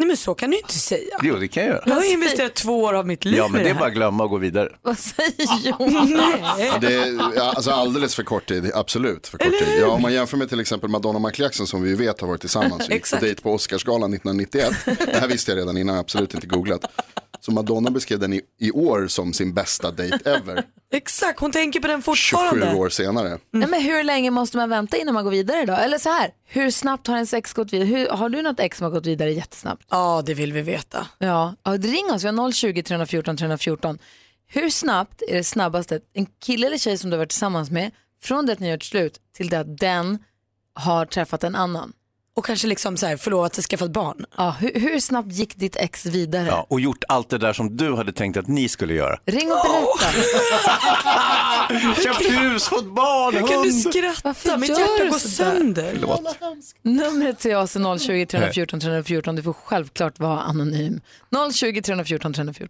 [SPEAKER 3] Nej men så kan du ju inte säga.
[SPEAKER 2] Jo, det kan jag göra.
[SPEAKER 3] Jag har ju investerat två år av mitt liv
[SPEAKER 2] Ja, men
[SPEAKER 3] i
[SPEAKER 2] det
[SPEAKER 3] det
[SPEAKER 2] är
[SPEAKER 3] här.
[SPEAKER 2] bara att glömma och gå vidare.
[SPEAKER 1] Vad säger Jonas?
[SPEAKER 16] Det, ja, alltså alldeles för kort tid, absolut. För kort tid. Ja, om man jämför med till exempel Madonna och Michael Jackson som vi ju vet har varit tillsammans. Gick på
[SPEAKER 3] Exakt.
[SPEAKER 16] dejt på Oscarsgalan 1991. Det här visste jag redan innan, absolut inte googlat. Så Madonna beskrev den i, i år som sin bästa dejt ever.
[SPEAKER 3] Exakt, hon tänker på den
[SPEAKER 16] 27
[SPEAKER 3] fortfarande.
[SPEAKER 16] år senare.
[SPEAKER 3] Mm.
[SPEAKER 1] Nej, men hur länge måste man vänta innan man går vidare då? Eller så här, hur snabbt har ens ex gått vidare? Hur, har du något ex som har gått vidare jättesnabbt?
[SPEAKER 3] Ja, det vill vi veta.
[SPEAKER 1] Ja, ja, ring oss, vi har 020 314 314. Hur snabbt är det snabbaste en kille eller tjej som du har varit tillsammans med från det att ni gjort slut till det att den har träffat en annan?
[SPEAKER 3] Och kanske liksom så här förlovat sig, skaffat barn.
[SPEAKER 1] Ja, hur, hur snabbt gick ditt ex vidare?
[SPEAKER 2] Ja, och gjort allt det där som du hade tänkt att ni skulle göra.
[SPEAKER 1] Ring och berätta.
[SPEAKER 2] Köpt hus, fått barn,
[SPEAKER 3] Hur kan du
[SPEAKER 2] hund.
[SPEAKER 3] skratta?
[SPEAKER 1] Varför
[SPEAKER 3] Mitt
[SPEAKER 1] gör
[SPEAKER 3] hjärta
[SPEAKER 1] du
[SPEAKER 3] går
[SPEAKER 1] sådär?
[SPEAKER 3] sönder.
[SPEAKER 2] Förlåt.
[SPEAKER 1] Numret till oss är 020 314 314. Du får självklart vara anonym. 020 314 314.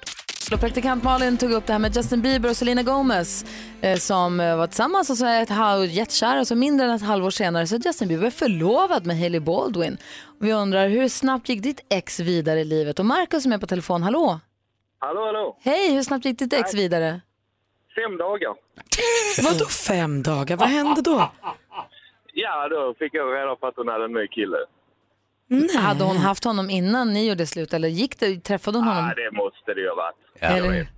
[SPEAKER 1] Och Praktikant Malin tog upp det här med Justin Bieber och Selena Gomez eh, som eh, var tillsammans och så är ett halv, jättekära och så mindre än ett halvår senare så är Justin Bieber förlovad med Hailey Baldwin. Och vi undrar hur snabbt gick ditt ex vidare i livet? Och Markus som är på telefon, hallå?
[SPEAKER 17] Hallå, hallå.
[SPEAKER 1] Hej, hur snabbt gick ditt ex vidare?
[SPEAKER 17] Fem dagar.
[SPEAKER 3] Vadå fem dagar? Vad hände då?
[SPEAKER 17] Ja, då fick jag reda på att hon hade en ny kille.
[SPEAKER 1] Hade hon haft honom innan ni gjorde slut eller gick det, träffade hon honom?
[SPEAKER 17] Ja, det måste det ju ha varit.
[SPEAKER 1] Eller-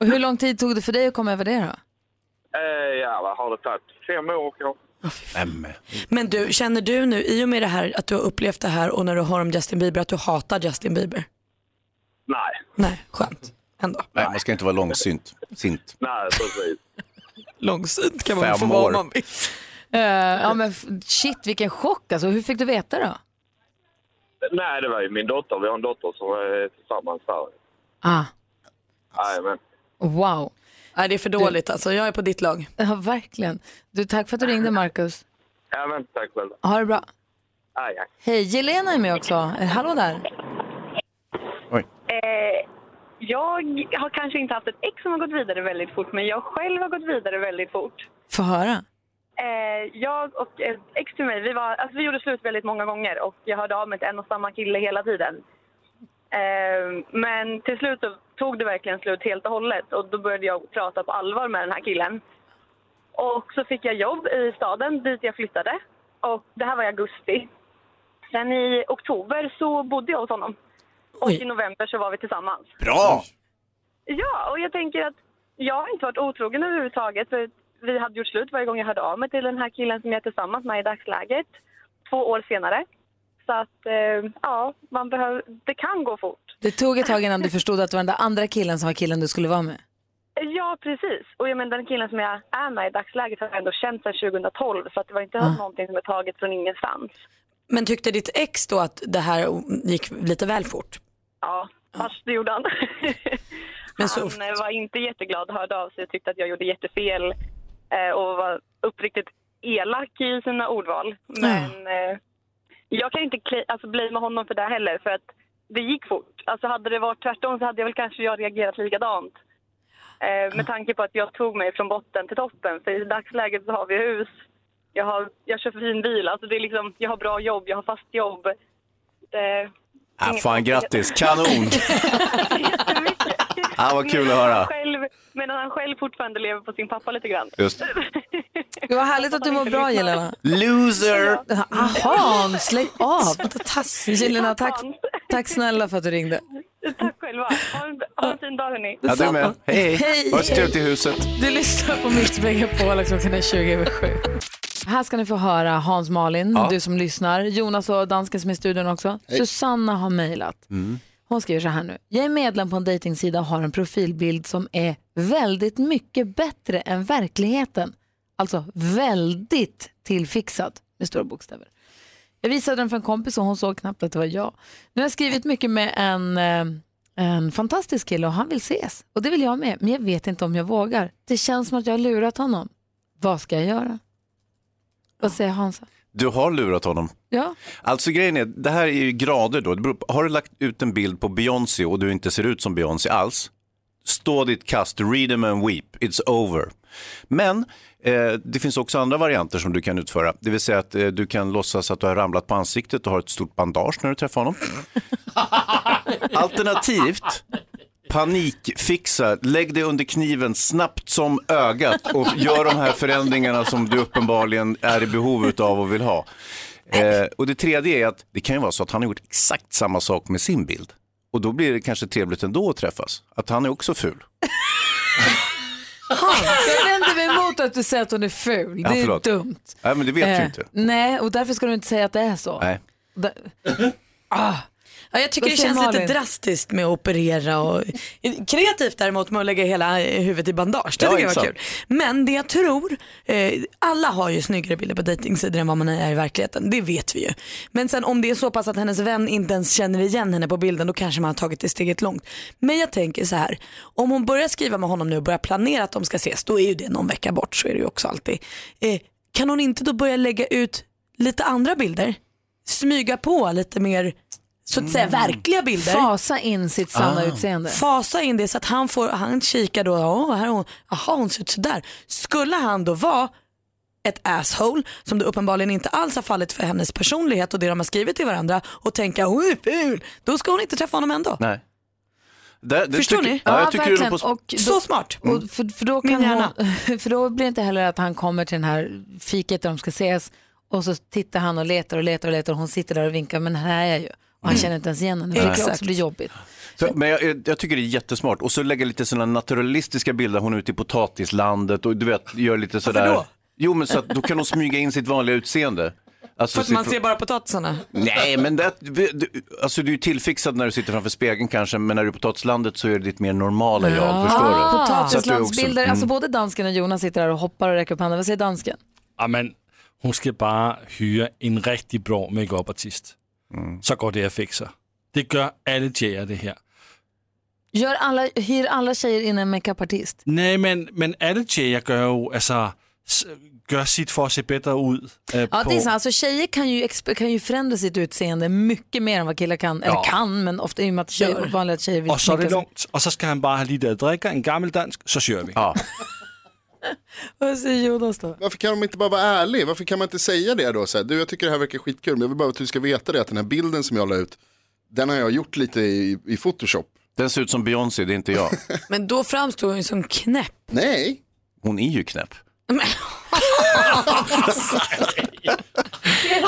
[SPEAKER 1] Och hur lång tid tog det för dig att komma över det då?
[SPEAKER 17] Eh, ja, vad har det tagit? Fem år kanske?
[SPEAKER 3] Men du, känner du nu i och med det här att du har upplevt det här och när du hör om Justin Bieber att du hatar Justin Bieber?
[SPEAKER 17] Nej.
[SPEAKER 3] Nej, skönt. Ändå.
[SPEAKER 2] Nej, man ska inte vara långsynt. Sint.
[SPEAKER 17] Nej, precis.
[SPEAKER 3] Långsynt kan
[SPEAKER 2] Fem
[SPEAKER 3] man få vara om
[SPEAKER 2] år.
[SPEAKER 3] man vill.
[SPEAKER 1] Eh, ja men f- shit vilken chock alltså. Hur fick du veta då?
[SPEAKER 17] Nej, det var ju min dotter. Vi har en dotter som är tillsammans där.
[SPEAKER 18] Alltså.
[SPEAKER 1] Ah,
[SPEAKER 17] Jajamän.
[SPEAKER 1] wow.
[SPEAKER 3] Nej, det är för dåligt alltså. Jag är på ditt lag.
[SPEAKER 1] Ja verkligen. Du, tack för att du ringde Markus.
[SPEAKER 17] Jajamän, tack själv.
[SPEAKER 1] Ha det bra.
[SPEAKER 17] Aj, aj.
[SPEAKER 1] Hej, Jelena är med också. Eh, Hallå där.
[SPEAKER 19] Eh, jag har kanske inte haft ett ex som har gått vidare väldigt fort, men jag själv har gått vidare väldigt fort.
[SPEAKER 1] Få höra.
[SPEAKER 19] Eh, jag och ett ex till mig, vi, var, alltså vi gjorde slut väldigt många gånger och jag hörde av mig till en och samma kille hela tiden. Eh, men till slut så tog det verkligen slut helt och hållet och då började jag prata på allvar med den här killen. Och så fick jag jobb i staden dit jag flyttade och det här var i augusti. Sen i oktober så bodde jag hos honom och
[SPEAKER 3] Oj.
[SPEAKER 19] i november så var vi tillsammans.
[SPEAKER 2] Bra!
[SPEAKER 19] Ja, och jag tänker att jag har inte varit otrogen överhuvudtaget. För vi hade gjort slut varje gång jag hörde av mig till den här killen som jag är tillsammans med i dagsläget. Två år senare. Så att, eh, ja, man behöver, det kan gå fort.
[SPEAKER 1] Det tog ett tag innan du förstod att det var den där andra killen som var killen du skulle vara med.
[SPEAKER 19] Ja, precis. Och jag menar, den killen som jag är med i dagsläget har jag ändå känt sedan 2012. Så att det var inte någonting som är taget från ingenstans.
[SPEAKER 3] Men tyckte ditt ex då att det här gick lite väl fort?
[SPEAKER 19] Ja, fast det gjorde han.
[SPEAKER 3] Men
[SPEAKER 19] han eh, var inte jätteglad, hörde av sig och tyckte att jag gjorde jättefel eh, och var uppriktigt elak i sina ordval. Men eh, jag kan inte kli- alltså, blamea honom för det heller, för att det gick fort. Alltså, hade det varit tvärtom så hade jag väl kanske jag reagerat likadant. Eh, med tanke på att jag tog mig från botten till toppen. För i dagsläget så har vi hus, jag, har, jag kör fin bil, alltså, det är liksom, jag har bra jobb, jag har fast jobb. Eh,
[SPEAKER 2] Ah, fan grattis, kanon! ah, vad kul att höra.
[SPEAKER 19] själv, medan han själv fortfarande lever på sin pappa lite grann.
[SPEAKER 2] Just.
[SPEAKER 1] Det var härligt att du mår bra Jelena.
[SPEAKER 2] Loser!
[SPEAKER 1] Aha, släng av. Jelena, tack, tack snälla för att du ringde.
[SPEAKER 19] Tack själva. Ha en, ha en fin dag hörni.
[SPEAKER 2] Ja, du med. Hej,
[SPEAKER 1] Hej.
[SPEAKER 2] hej. Var så trevligt i huset.
[SPEAKER 1] Du lyssnar på Mix Megapol och klockan är 20 över 7. Här ska ni få höra Hans Malin,
[SPEAKER 20] Ja.
[SPEAKER 1] du som lyssnar, Jonas och dansken som är i studion också.
[SPEAKER 20] Hej.
[SPEAKER 1] Susanna har mejlat. Hon skriver så här nu. Jag är medlem på en dejtingsida och har en profilbild som är väldigt mycket bättre än verkligheten. Alltså väldigt tillfixad med stora bokstäver. Jag visade den för en kompis och hon såg knappt att det var jag. Nu har jag skrivit mycket med en, eh, en fantastisk kille och han vill ses. Och det vill jag med, men jag vet inte om jag vågar. Det känns som att jag har lurat honom. Vad ska jag göra? Vad säger Hansa?
[SPEAKER 2] Du har lurat honom.
[SPEAKER 1] Ja.
[SPEAKER 2] Alltså grejen är, det här är ju grader då. Det beror på, har du lagt ut en bild på Beyoncé och du inte ser ut som Beyoncé alls, stå ditt kast, read them and weep, it's over. Men eh, det finns också andra varianter som du kan utföra. Det vill säga att eh, du kan låtsas att du har ramlat på ansiktet och har ett stort bandage när du träffar honom. Alternativt panikfixa, lägg dig under kniven snabbt som ögat och gör de här förändringarna som du uppenbarligen är i behov av och vill ha. Eh, och det tredje är att det kan ju vara så att han har gjort exakt samma sak med sin bild. Och då blir det kanske trevligt ändå att träffas, att han är också ful.
[SPEAKER 1] Jag vänder mig emot att du säger att hon är ful.
[SPEAKER 2] Ja,
[SPEAKER 1] det är
[SPEAKER 2] förlåt.
[SPEAKER 1] dumt.
[SPEAKER 2] Nej, men det vet du
[SPEAKER 1] Eh,
[SPEAKER 2] inte.
[SPEAKER 1] Nej, och därför ska du inte säga att det är så.
[SPEAKER 2] Nej.
[SPEAKER 1] Da- Ah.
[SPEAKER 3] Ja, jag tycker
[SPEAKER 1] Vad
[SPEAKER 3] det
[SPEAKER 1] säger
[SPEAKER 3] känns
[SPEAKER 1] Malin?
[SPEAKER 3] lite drastiskt med att operera och kreativt däremot med att lägga hela eh, huvudet i bandage. Det
[SPEAKER 1] Ja,
[SPEAKER 3] tycker jag var
[SPEAKER 1] exakt.
[SPEAKER 3] kul. Men det jag tror, eh, alla har ju snyggare bilder på dejtingsidor än vad man är i verkligheten. Det vet vi ju. Men sen om det är så pass att hennes vän inte ens känner igen henne på bilden då kanske man har tagit det steget långt. Men jag tänker så här, om hon börjar skriva med honom nu och börjar planera att de ska ses, då är ju det någon vecka bort, så är det ju också alltid. Eh, kan hon inte då börja lägga ut lite andra bilder? Smyga på lite mer så att säga verkliga bilder.
[SPEAKER 1] Mm. Fasa in sitt sanna
[SPEAKER 3] Ah.
[SPEAKER 1] utseende.
[SPEAKER 3] Fasa in det så att han får, han kikar då, åh, här är hon, jaha hon ser ut sådär. Skulle han då vara ett asshole som det uppenbarligen inte alls har fallit för hennes personlighet och det de har skrivit till varandra och tänka hon är ful, då ska hon inte träffa honom ändå.
[SPEAKER 2] Nej. Där- det
[SPEAKER 3] Förstår
[SPEAKER 2] tycker-
[SPEAKER 3] ni?
[SPEAKER 2] Ja, jag tycker du är
[SPEAKER 1] verkligen.
[SPEAKER 2] på... Mm.
[SPEAKER 1] Och då-
[SPEAKER 3] Så smart.
[SPEAKER 1] Och för, för, då kan
[SPEAKER 3] Min hjärna.
[SPEAKER 1] hon, för då blir det inte heller att han kommer till den här fiket där de ska ses och så tittar han och letar och letar och letar och hon sitter där och vinkar men här är jag ju. Och han känner inte ens igen henne. Det
[SPEAKER 2] Mm. Exakt.
[SPEAKER 1] kan också bli jobbigt.
[SPEAKER 2] Så, men jag, eh, jag- jag tycker det är jättesmart. Och så lägga lite sådana naturalistiska bilder. Hon är ute i potatislandet och du vet, gör lite sådär.
[SPEAKER 3] då?
[SPEAKER 2] Jo, men så att då kan hon smyga in sitt vanliga utseende. Alltså,
[SPEAKER 3] För att
[SPEAKER 2] sitt-
[SPEAKER 3] man ser bara potatisarna.
[SPEAKER 2] Nej, men det, du, alltså, du är ju tillfixad när du sitter framför spegeln kanske, men när du är på potatislandet så är det ditt mer normala jag, förstår du? Så att du också-
[SPEAKER 1] Ah. Potatislandsbilder, alltså
[SPEAKER 2] mm.
[SPEAKER 1] både dansken och Jonas sitter där och hoppar och räcker upp handen. Vad säger dansken?
[SPEAKER 7] Ja, men hon ska bara hyra en riktigt bra makeupartist.
[SPEAKER 2] Mm.
[SPEAKER 7] Så går det att fixa. Det gör alla tjejer det här.
[SPEAKER 1] Gör alla, hyr alla tjejer in en makeupartist?
[SPEAKER 7] Nej, men, men alla tjejer gör ju, alltså, s- gör sitt för att se bättre ut. eh,
[SPEAKER 1] Ja,
[SPEAKER 7] på-
[SPEAKER 1] det är sant. Alltså, tjejer kan ju, exp- kan ju förändra sitt utseende mycket mer än vad killar kan. Eller
[SPEAKER 7] Ja.
[SPEAKER 1] kan, men ofta i och med att tjejer,
[SPEAKER 7] Gör.
[SPEAKER 1] vanliga tjejer vill
[SPEAKER 7] Och så är det
[SPEAKER 1] sminka sig.
[SPEAKER 7] lugnt. Och så ska han bara ha lite att dricka, en gammeldansk, så kör vi.
[SPEAKER 2] Ja.
[SPEAKER 1] Vad säger Jonas då?
[SPEAKER 16] Varför kan de inte bara vara ärlig? Varför kan man inte säga det då? Så här, du, jag tycker det här verkar skitkul, men jag vill bara att du ska veta det att den här bilden som jag la ut, den har jag gjort lite i, i Photoshop.
[SPEAKER 2] Den ser ut som Beyoncé, det är inte jag.
[SPEAKER 3] Men då framstår hon ju som knäpp.
[SPEAKER 16] Nej.
[SPEAKER 2] Hon är ju knäpp.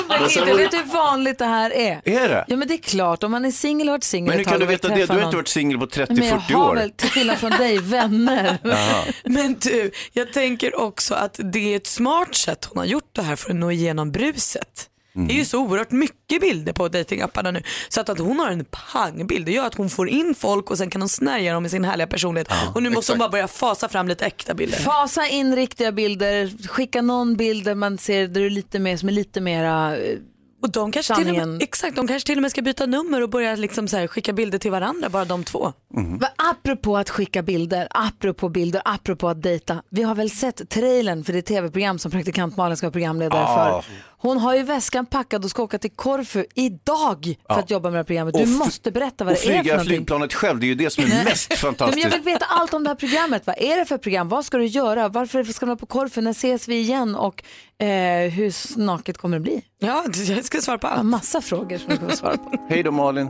[SPEAKER 1] Men inte,
[SPEAKER 2] sen var det-
[SPEAKER 1] vet du hur vanligt det här är?
[SPEAKER 2] Är det?
[SPEAKER 1] Ja men det är klart, om man är singel och har varit singel
[SPEAKER 2] Men hur
[SPEAKER 1] ett tag
[SPEAKER 2] kan du
[SPEAKER 1] och vill
[SPEAKER 2] veta det? Du
[SPEAKER 1] träffa
[SPEAKER 2] har
[SPEAKER 1] någon.
[SPEAKER 2] inte varit singel på 30-40 år.
[SPEAKER 1] Men jag har väl, till skillnad från dig, vänner.
[SPEAKER 2] Jaha.
[SPEAKER 3] Men du, jag tänker också att det är ett smart sätt hon har gjort det här för att nå igenom bruset. Det är ju så oerhört mycket bilder på datingapparna nu. Så att, att hon har en pangbild, det gör att hon får in folk och sen kan hon snärja dem med sin härliga personlighet. och nu måste hon bara börja fasa fram lite äkta bilder.
[SPEAKER 1] Fasa in riktiga bilder, skicka någon bild där man ser där du är lite mer, som är lite mera eh,
[SPEAKER 3] och de kanske
[SPEAKER 2] Mm.
[SPEAKER 3] till och med, exakt, de kanske till och med ska byta nummer och börja liksom så här, skicka bilder till varandra, bara de två.
[SPEAKER 1] Va, Apropå att skicka bilder, apropå bilder, apropå att dejta. Vi har väl sett trailern för det tv-program som praktikant Malin ska vara programledare
[SPEAKER 20] Ja.
[SPEAKER 1] för. Hon har ju väskan packad och ska åka till Korfu idag för
[SPEAKER 2] Ja.
[SPEAKER 1] att jobba med det här programmet.
[SPEAKER 2] Och
[SPEAKER 1] Du
[SPEAKER 2] f-
[SPEAKER 1] måste berätta vad
[SPEAKER 2] Och
[SPEAKER 1] det är för
[SPEAKER 2] flyga
[SPEAKER 1] någonting.
[SPEAKER 2] flygplanet själv, det är ju det som är mest
[SPEAKER 1] Nej, Men jag
[SPEAKER 2] fantastiskt.
[SPEAKER 1] vill veta allt om det här programmet. Vad är det för program? Vad ska du göra? Varför ska du vara på Korfu? När ses vi igen? Och eh, hur snaket kommer det bli?
[SPEAKER 3] Ja, jag ska svara på allt.
[SPEAKER 1] Massa frågor som du behöver svara på.
[SPEAKER 2] Hej då Malin.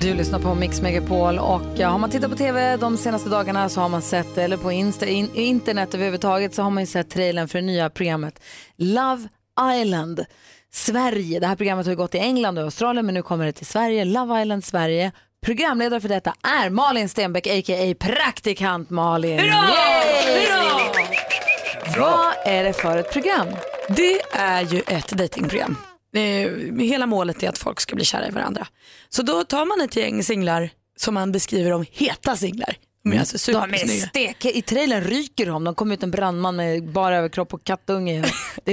[SPEAKER 1] Du lyssnar på Mix Megapol och ja, har man tittat på tv de senaste dagarna så har man sett, eller på Insta, in, internet överhuvudtaget så har man ju sett trailern för det nya programmet Love Island Sverige. Det här programmet har ju gått i England och Australien men nu kommer det till Sverige, Love Island Sverige. Programledare för detta är Malin Stenbeck a.k.a. praktikant Malin. Yay! Vad är det för ett program?
[SPEAKER 3] Det är ju ett dejtingprogram. Eh, Hela målet är att folk ska bli kära i varandra. Så då tar man ett gäng singlar som man beskriver som heta singlar. De är alltså
[SPEAKER 1] de är
[SPEAKER 3] supersnygga.
[SPEAKER 1] stek. I trailern ryker de. De kom ut en brandman med bara överkropp och kattunge. Det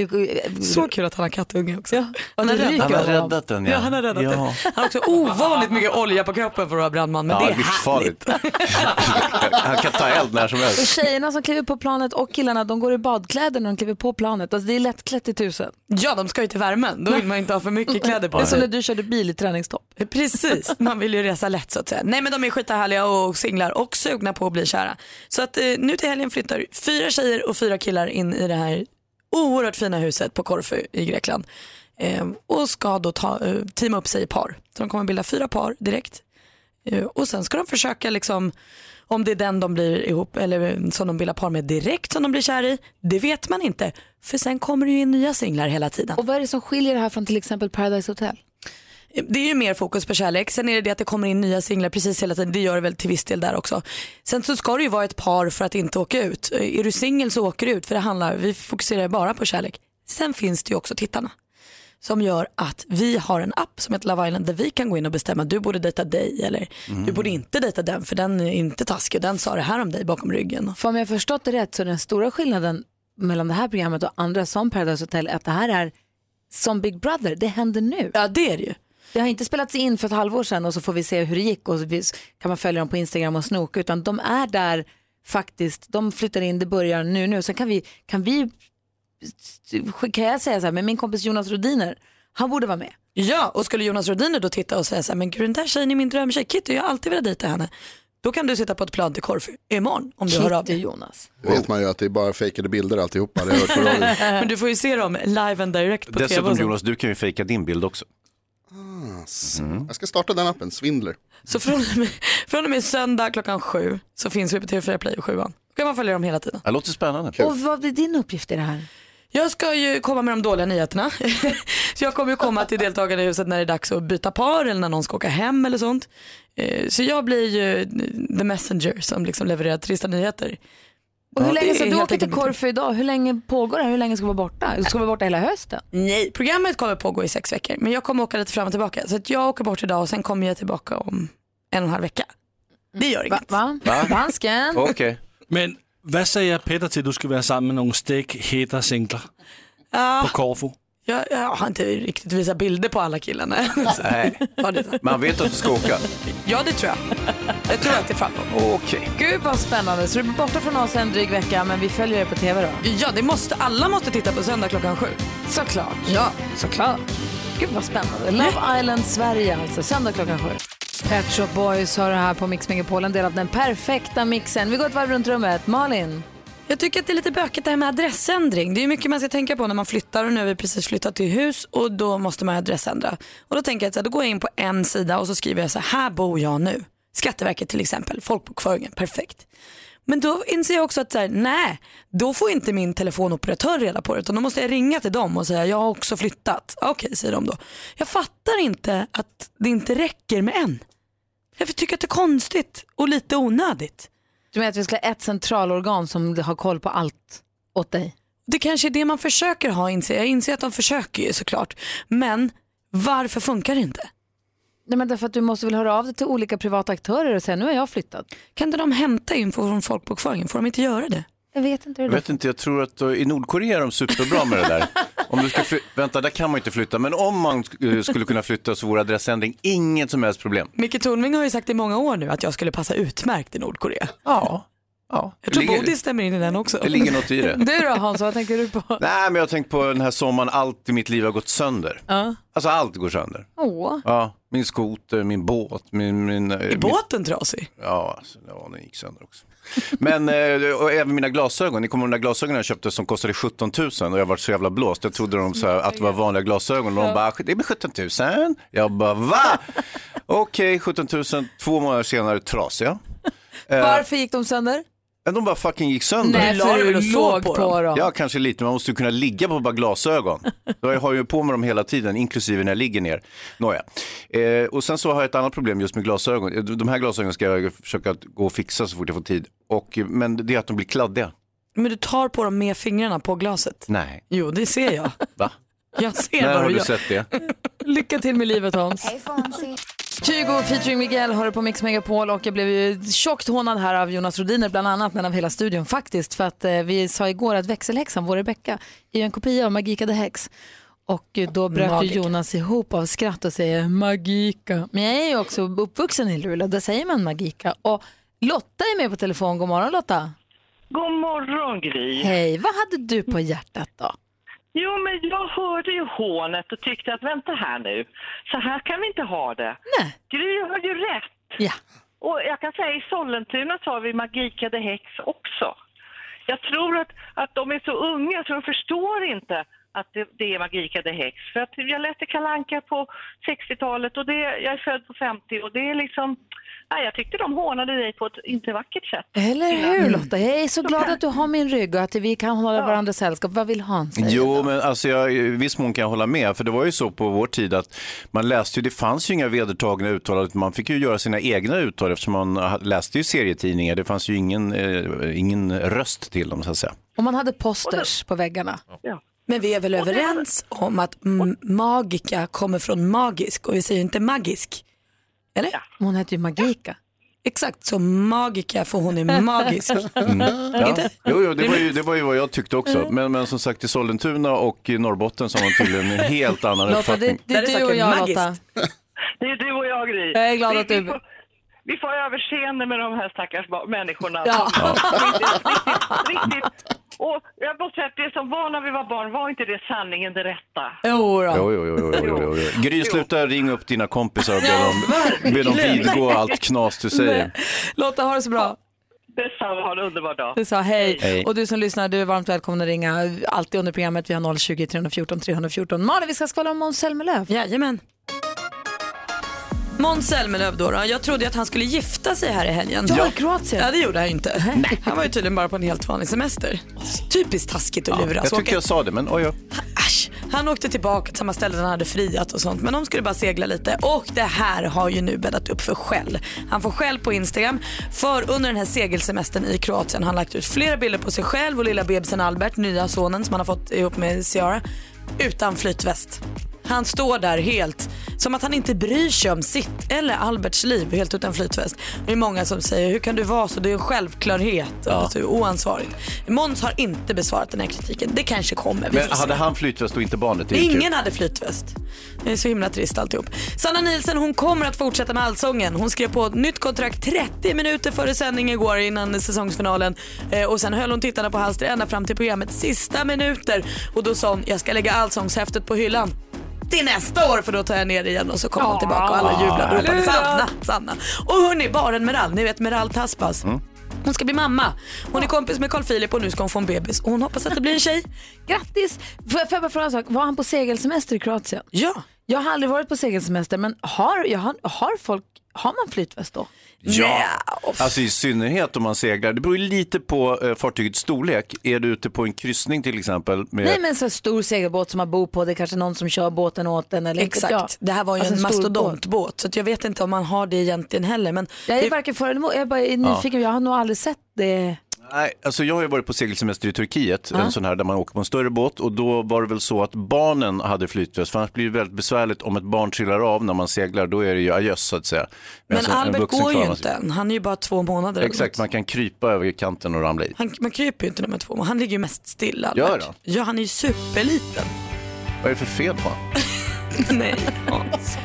[SPEAKER 1] är...
[SPEAKER 3] Så kul att han har kattunge också. Ja,
[SPEAKER 1] han har ryker
[SPEAKER 2] Han har
[SPEAKER 1] honom.
[SPEAKER 2] räddat den ja.
[SPEAKER 3] Ja, han har räddat den.
[SPEAKER 2] Ja.
[SPEAKER 3] Han har också ovanligt mycket olja på kroppen för att vara brandman. Men
[SPEAKER 2] Ja,
[SPEAKER 3] det är
[SPEAKER 2] livsfarligt. Han kan ta eld när som
[SPEAKER 1] Och
[SPEAKER 2] helst.
[SPEAKER 1] tjejerna som kliver på planet och killarna de går i badkläder när de kliver på planet. Alltså det är lättklätt i tusen.
[SPEAKER 3] Ja, de ska ju till värmen. Då vill man inte ha för mycket kläder på
[SPEAKER 1] Det är som
[SPEAKER 3] sig. Eh,
[SPEAKER 1] när du körde bil i träningstopp.
[SPEAKER 3] Precis, man vill ju resa lätt så att säga. Nej men de är skithärliga och singlar och sugna på att bli kära. Så att eh, nu till helgen flyttar fyra tjejer och fyra killar in i det här oerhört fina huset på Korfu i Grekland. Eh, och ska då ta, eh, teama upp sig i par. Så de kommer bilda fyra par direkt. Eh, och sen ska de försöka liksom om det är den de blir ihop eller eh, som de bildar par med direkt som de blir kär i. Det vet man inte. För sen kommer det ju in nya singlar hela tiden.
[SPEAKER 1] Och vad är det som skiljer det här från till exempel Paradise Hotel?
[SPEAKER 3] Det är ju mer fokus på kärlek. Sen är det det att det kommer in nya singlar precis hela tiden. Det gör det väl till viss del där också. Sen så ska det ju vara ett par för att inte åka ut. Eh, Är du singel så åker du ut för det handlar, vi fokuserar bara på kärlek. Sen finns det ju också tittarna som gör att vi har en app som heter Love Island där vi kan gå in och bestämma du borde dejta dig eller
[SPEAKER 1] Mm.
[SPEAKER 3] du borde inte dejta den för den är inte taskig och den sa det här om dig bakom ryggen.
[SPEAKER 1] För om jag förstått det rätt så är den stora skillnaden mellan det här programmet och andra som Paradise Hotel att det här är som Big Brother, det händer nu.
[SPEAKER 3] Ja det är det ju.
[SPEAKER 1] Det har inte spelats in för ett halvår sedan och så får vi se hur det gick och så vi- kan man följa dem på Instagram och snoka utan de är där faktiskt, de flyttar in, det börjar nu nu. Sen kan vi, kan vi, kan jag säga så här, men min kompis Jonas Rodiner, han borde vara med.
[SPEAKER 3] Ja, och skulle Jonas Rhodiner då titta och säga så här, men gud den där tjejen är min drömtjej, Kitty, jag har alltid velat dejta henne. Då kan du sitta på ett plan till Korfu imorgon om du
[SPEAKER 1] Kitty
[SPEAKER 3] hör av dig.
[SPEAKER 1] Jonas.
[SPEAKER 16] Det vet man ju att det är bara fejkade bilder alltihopa. Det har jag hört på radio.
[SPEAKER 3] men du får ju se dem live and direct på tv.
[SPEAKER 2] Dessutom
[SPEAKER 3] och sånt.
[SPEAKER 2] Jonas, du kan ju fejka din bild också.
[SPEAKER 16] Ah,
[SPEAKER 2] Mm.
[SPEAKER 16] Jag ska starta den appen, Svindler.
[SPEAKER 3] Så från och, med, från och med söndag klockan sju så finns vi på TV4 Play och sjuan. Då kan man följa dem hela tiden.
[SPEAKER 2] Det låter spännande.
[SPEAKER 1] Och vad blir din uppgift i det här?
[SPEAKER 3] Jag ska ju komma med de dåliga nyheterna. så jag kommer ju komma till deltagarna i huset när det är dags att byta par eller när någon ska åka hem eller sånt. Eh, Så jag blir ju the messenger som liksom levererar trista nyheter.
[SPEAKER 1] Och hur
[SPEAKER 3] Ja.
[SPEAKER 1] länge
[SPEAKER 3] Det
[SPEAKER 1] ska
[SPEAKER 3] är
[SPEAKER 1] du
[SPEAKER 3] helt
[SPEAKER 1] åka till
[SPEAKER 3] enkelt-
[SPEAKER 1] Korfu idag? Hur länge pågår det? här? Hur länge ska du vara borta? Du ska vara borta hela hösten?
[SPEAKER 3] Nej, programmet kommer pågå i sex veckor. Men jag kommer åka lite fram och tillbaka. Så att jag åker bort idag och sen kommer jag tillbaka om en och en halv vecka. Det gör inget.
[SPEAKER 1] Va?
[SPEAKER 7] Va?
[SPEAKER 1] Dansken?
[SPEAKER 7] Men vad säger Peter till att du ska vara samman med någon stekheta singlar
[SPEAKER 3] Ja,
[SPEAKER 7] på Korfu?
[SPEAKER 3] jag, jag har inte riktigt visat bilder på alla killarna.
[SPEAKER 2] Nej.
[SPEAKER 3] Ja, det är sant.
[SPEAKER 2] Man vet att du ska åka.
[SPEAKER 3] ja, det tror jag. Jag tror att det är framåt.
[SPEAKER 2] Okej.
[SPEAKER 1] Gud vad spännande. Så du blir borta från oss en dryg vecka men vi följer er på tv då?
[SPEAKER 3] Ja, det måste, alla måste titta på söndag klockan sju.
[SPEAKER 1] Såklart.
[SPEAKER 3] Ja,
[SPEAKER 1] såklart. Gud vad spännande. Love Island Sverige alltså, söndag klockan sju. Pet Shop Boys har det här på Mix Megapol, en del av den perfekta mixen. Vi går ett varv runt rummet. Malin?
[SPEAKER 3] Jag tycker att det är lite bökigt det här med adressändring. Det är ju mycket man ska tänka på när man flyttar och nu har vi precis flyttat till hus och då måste man adressändra. Och då tänker jag att så här, då går jag in på en sida och så skriver jag så här, här bor jag nu. Skatteverket till exempel, folkbokföringen, perfekt. Men då inser jag också att så här, nej, då får inte min telefonoperatör reda på det utan då måste jag ringa till dem och säga jag har också flyttat. Okej, säger de då. Jag fattar inte att det inte räcker med en. Jag tycker att det är konstigt och lite onödigt.
[SPEAKER 1] Du menar att vi ska ha ett centralorgan som har koll på allt åt dig?
[SPEAKER 3] Det kanske är det man försöker ha inser jag. Jag inser att de försöker ju såklart. Men varför funkar det inte?
[SPEAKER 1] Nej men därför att du måste väl höra av dig till olika privata aktörer och säga nu har jag flyttat.
[SPEAKER 3] Kan inte de hämta info från folkbokföringen? Får de inte göra det?
[SPEAKER 1] Jag vet inte
[SPEAKER 2] Jag vet inte, jag tror att eh, i Nordkorea är de superbra med det där. Om du ska fly- Vänta, där kan man ju inte flytta. Men om man eh, skulle kunna flytta så vore adressändring inget som helst problem.
[SPEAKER 3] Micke Tornving har ju sagt i många år nu att jag skulle passa utmärkt i Nordkorea.
[SPEAKER 2] Ja.
[SPEAKER 3] ja. Jag tror
[SPEAKER 2] Det ligger-
[SPEAKER 3] Bodil stämmer in i den också.
[SPEAKER 2] det ligger något i det.
[SPEAKER 1] Du då Hans, vad tänker du på?
[SPEAKER 2] Nej, men jag har tänkt på den här sommaren, allt i mitt liv har gått sönder.
[SPEAKER 1] Ja.
[SPEAKER 2] Alltså allt går sönder.
[SPEAKER 1] Åh.
[SPEAKER 2] Ja, min skoter, min båt. Min, min, eh, är
[SPEAKER 3] båten trasig?
[SPEAKER 2] Ja, alltså, ja, den gick sönder också. Men eh, och även mina glasögon. Ni kommer ihåg de där glasögonen jag köpte som kostade 17 000 och jag var så jävla blåst. Jag trodde de, så här, att det var vanliga glasögon och de bara, det blir 17 000. Jag bara, va? Okej, 17 000. Två månader senare trasiga. Eh,
[SPEAKER 1] Varför gick de sönder?
[SPEAKER 2] men de bara fucking gick sönder.
[SPEAKER 1] Nej, Du la för dig du väl och såg låg på på dem? dem.
[SPEAKER 2] Ja, kanske lite. Man måste ju kunna ligga på bara glasögon. Jag har ju på mig dem hela tiden, inklusive när jag ligger ner. Nåja. Eh, och sen så har jag ett annat problem just med glasögon. Eh, De här glasögonen ska jag försöka att gå och fixa så fort jag får tid. Och, eh, men det är att de blir kladdiga.
[SPEAKER 3] Men du tar på dem med fingrarna på glaset.
[SPEAKER 2] Nej,
[SPEAKER 3] Jo, det ser jag.
[SPEAKER 2] va?
[SPEAKER 3] Jag ser
[SPEAKER 2] När
[SPEAKER 3] vad
[SPEAKER 2] har
[SPEAKER 3] du
[SPEAKER 2] du
[SPEAKER 3] gör.
[SPEAKER 2] sett det?
[SPEAKER 1] Lycka till med livet Hans. Kygo featuring Miguel hör du på Mix Megapol och jag blev ju tjockt hånad här av Jonas Rodiner bland annat men av hela studion faktiskt för att eh, vi sa igår att växelhäxan, vår Rebecka, är ju en kopia av Magika the Hex. Och eh, då bröt ju
[SPEAKER 3] Magica.
[SPEAKER 1] Jonas ihop av skratt och säger Magika. Men jag är ju också uppvuxen i Luleå, där säger man Magika. Och Lotta är med på telefon, god morgon Lotta.
[SPEAKER 14] God morgon Gry.
[SPEAKER 1] Hej, vad hade du på hjärtat då?
[SPEAKER 14] Jo, men jag hörde ju hånet och tyckte att vänta här nu, så här kan vi inte ha det.
[SPEAKER 1] Nej.
[SPEAKER 14] Gry har ju rätt.
[SPEAKER 1] Ja.
[SPEAKER 14] Och jag kan säga i Sollentuna så har vi Magikade häx också. Jag tror att, att de är så unga så de förstår inte att det, det är Magikade häx. För att jag läste Kalanka på 60-talet och det, jag är född på 50 och det är liksom, nej, jag tyckte de hånade dig på ett inte vackert sätt.
[SPEAKER 1] Eller hur Lotta? Jag är så glad att du har min rygg och att vi kan hålla varandra sällskap. Vad vill Hans säga?
[SPEAKER 2] Jo, men alltså jag, i viss mån kan jag hålla med. För det var ju så på vår tid att man läste ju, det fanns ju inga vedertagna uttal. utan Man fick ju göra sina egna uttal eftersom man ha- läste ju serietidningar. Det fanns ju ingen, eh, ingen röst till dem så att säga.
[SPEAKER 1] Om man hade posters på väggarna.
[SPEAKER 3] Men vi är väl överens om att m- magika kommer från magisk och vi säger inte magisk. Eller?
[SPEAKER 1] Hon heter ju Magika.
[SPEAKER 3] Exakt, så magika för hon är magisk.
[SPEAKER 1] Mm.
[SPEAKER 2] Ja.
[SPEAKER 3] Inte?
[SPEAKER 2] Jo, jo det, var ju, det var ju vad jag tyckte också. Men, men som sagt, i Sollentuna och i Norrbotten så har man tydligen en helt annan
[SPEAKER 1] Lotta, det,
[SPEAKER 2] uppfattning.
[SPEAKER 1] det är du och jag Lotta.
[SPEAKER 14] Det är du och jag Gry.
[SPEAKER 1] Jag är glad
[SPEAKER 14] vi,
[SPEAKER 1] att du-
[SPEAKER 14] Vi får, vi får överseende med de här stackars ba- människorna.
[SPEAKER 1] Ja.
[SPEAKER 14] Som- Riktigt, riktigt, riktigt. Och jag måste säga att det som var när vi var barn, var inte det sanningen det rätta?
[SPEAKER 1] Jo, då.
[SPEAKER 2] Jo, jo, jo, jo, jo, jo, jo. Gry, sluta ringa upp dina kompisar och be dem, be dem vidgå allt knas du säger.
[SPEAKER 1] Lotta, ha det så bra.
[SPEAKER 14] Detsamma, ha en underbar dag.
[SPEAKER 1] Du sa hej.
[SPEAKER 2] Hej.
[SPEAKER 1] Och du som lyssnar, du är varmt välkommen att ringa alltid under programmet. Vi har 020 314 314. Malin, vi ska skvallra om Måns Zelmerlöw.
[SPEAKER 3] Jajamän. Måns Zelmerlöw då, då, jag trodde ju att han skulle gifta sig här i helgen.
[SPEAKER 1] Ja, i Kroatien.
[SPEAKER 3] Ja, det gjorde han ju inte. Han var ju tydligen bara på en helt vanlig semester. Typiskt taskigt att luras.
[SPEAKER 2] Jag tyckte
[SPEAKER 3] Åka-
[SPEAKER 2] jag sa det, men oj, oj.
[SPEAKER 3] Han åkte tillbaka till samma ställe där han hade friat och sånt men de skulle bara segla lite och det här har ju nu bäddat upp för skäll. Han får skäll på Instagram för under den här segelsemestern i Kroatien har han lagt ut flera bilder på sig själv och lilla bebisen Albert, nya sonen som han har fått ihop med Ciara, utan flytväst. Han står där helt som att han inte bryr sig om sitt eller Alberts liv helt utan flytväst. Det är många som säger hur kan du vara så, det är en självklarhet. Alltså, oansvarigt. Måns har inte besvarat den här kritiken, det kanske kommer. Vi
[SPEAKER 2] Men
[SPEAKER 3] får se.
[SPEAKER 2] hade han flytväst och inte barnet? Det är ju kul.
[SPEAKER 3] Ingen hade flytväst. Det är så himla trist alltihop. Sanna Nielsen hon kommer att fortsätta med Allsången. Hon skrev på ett nytt kontrakt 30 minuter före sändning igår innan säsongsfinalen. Eh, och sen höll hon tittarna på halster ända fram till programmets sista minuter. Och då sa hon, jag ska lägga Allsångshäftet på hyllan. Till nästa år för då tar jag ner det igen och så kommer hon tillbaka och alla jublar och ropar Sanna, Sanna. Och hörni, baren Meral, ni vet Meral Taspas. Hon ska bli mamma. Hon är kompis med Carl Philip och nu ska hon få en bebis och hon hoppas att det blir en tjej.
[SPEAKER 1] Grattis! Får jag får jag bara fråga en sak? Var han på segelsemester i Kroatien?
[SPEAKER 3] Ja.
[SPEAKER 1] Jag har aldrig varit på segelsemester, men har, jag har, har folk, har man flytväst då?
[SPEAKER 2] Ja, alltså i synnerhet om man seglar. Det beror ju lite på eh, fartygets storlek. Är du ute på en kryssning till exempel? Med...
[SPEAKER 1] Nej men så här stor segelbåt som man bor på, det är kanske någon som kör båten åt en eller Alltså
[SPEAKER 3] Exakt, det här var ju en mastodontbåt så att jag vet inte om man har det egentligen heller. Men
[SPEAKER 1] Jag är
[SPEAKER 3] det-
[SPEAKER 1] varken för eller emot, jag är bara nyfiken, jag har nog aldrig sett det.
[SPEAKER 2] Nej, alltså jag har ju varit på segelsemester i Turkiet,
[SPEAKER 1] Ja.
[SPEAKER 2] en sån här där man åker på en större båt och då var det väl så att barnen hade flytväst, för annars blir det väldigt besvärligt om ett barn trillar av när man seglar, då är det ju adjöss så att säga.
[SPEAKER 3] men
[SPEAKER 2] Medan Alltså, en- en
[SPEAKER 3] Albert
[SPEAKER 2] vuxen
[SPEAKER 3] går ju
[SPEAKER 2] klarar
[SPEAKER 3] inte
[SPEAKER 2] sig.
[SPEAKER 3] än, han är ju bara två månader. eller
[SPEAKER 2] Exakt, man kan krypa över kanten och ramla i.
[SPEAKER 3] något. Han, man kryper ju inte när man är två månader, han ligger ju mest still Albert.
[SPEAKER 2] Gör han?
[SPEAKER 3] Ja, han är ju superliten.
[SPEAKER 2] Vad är det för fel på honom?
[SPEAKER 3] Nej, Hans.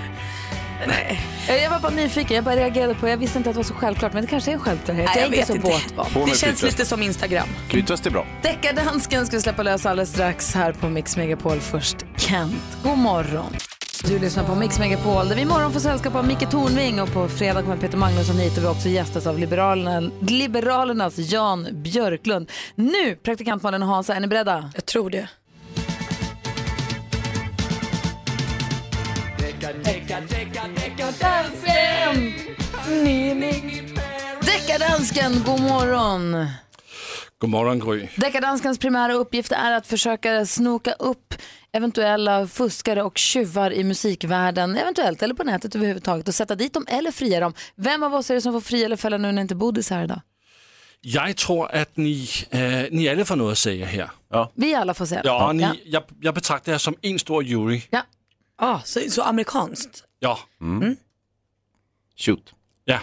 [SPEAKER 1] Nej. Eh, Jag var bara nyfiken, jag bara reagerade på Jag visste inte att det var så självklart, men det kanske är en självklarhet.
[SPEAKER 3] Nej,
[SPEAKER 1] jag
[SPEAKER 3] jag
[SPEAKER 1] är inte
[SPEAKER 3] vet
[SPEAKER 1] så
[SPEAKER 3] inte.
[SPEAKER 1] båtvan.
[SPEAKER 2] Hon är
[SPEAKER 3] Det känns
[SPEAKER 2] flytväst.
[SPEAKER 3] lite som Instagram.
[SPEAKER 2] Flytväst är bra.
[SPEAKER 1] Deckardansken ska vi släppa lös alldeles strax här på Mix Megapol. Först Kent, god morgon. Du lyssnar på Mix Megapol där vi imorgon får sällskap av Micke Tornving och på fredag kommer Peter Magnusson hit och vi också gästas av Liberalerna, Liberalernas Jan Björklund. Nu, praktikant Malin och Hansa, är ni beredda? Jag tror det. Deckardansken, god morgon.
[SPEAKER 7] Godmorgon Gry.
[SPEAKER 1] Deckardanskans primära uppgift är att försöka snoka upp eventuella fuskare och tjuvar i musikvärlden, eventuellt eller på nätet överhuvudtaget och sätta dit dem eller fria dem. Vem av oss är det som får fria eller fälla nu när inte Bodis är här idag?
[SPEAKER 7] Jeg tror, at ni, øh, ni alle får noget at sige her. Ja,
[SPEAKER 1] Vi alla får säga
[SPEAKER 7] ja,
[SPEAKER 1] det.
[SPEAKER 7] ni, Jeg, jeg betragter jer som en stor jury.
[SPEAKER 1] Ja.
[SPEAKER 3] Ah, så, så amerikanskt.
[SPEAKER 7] Ja.
[SPEAKER 2] Mm.
[SPEAKER 3] Mm.
[SPEAKER 2] Shoot.
[SPEAKER 7] Ja.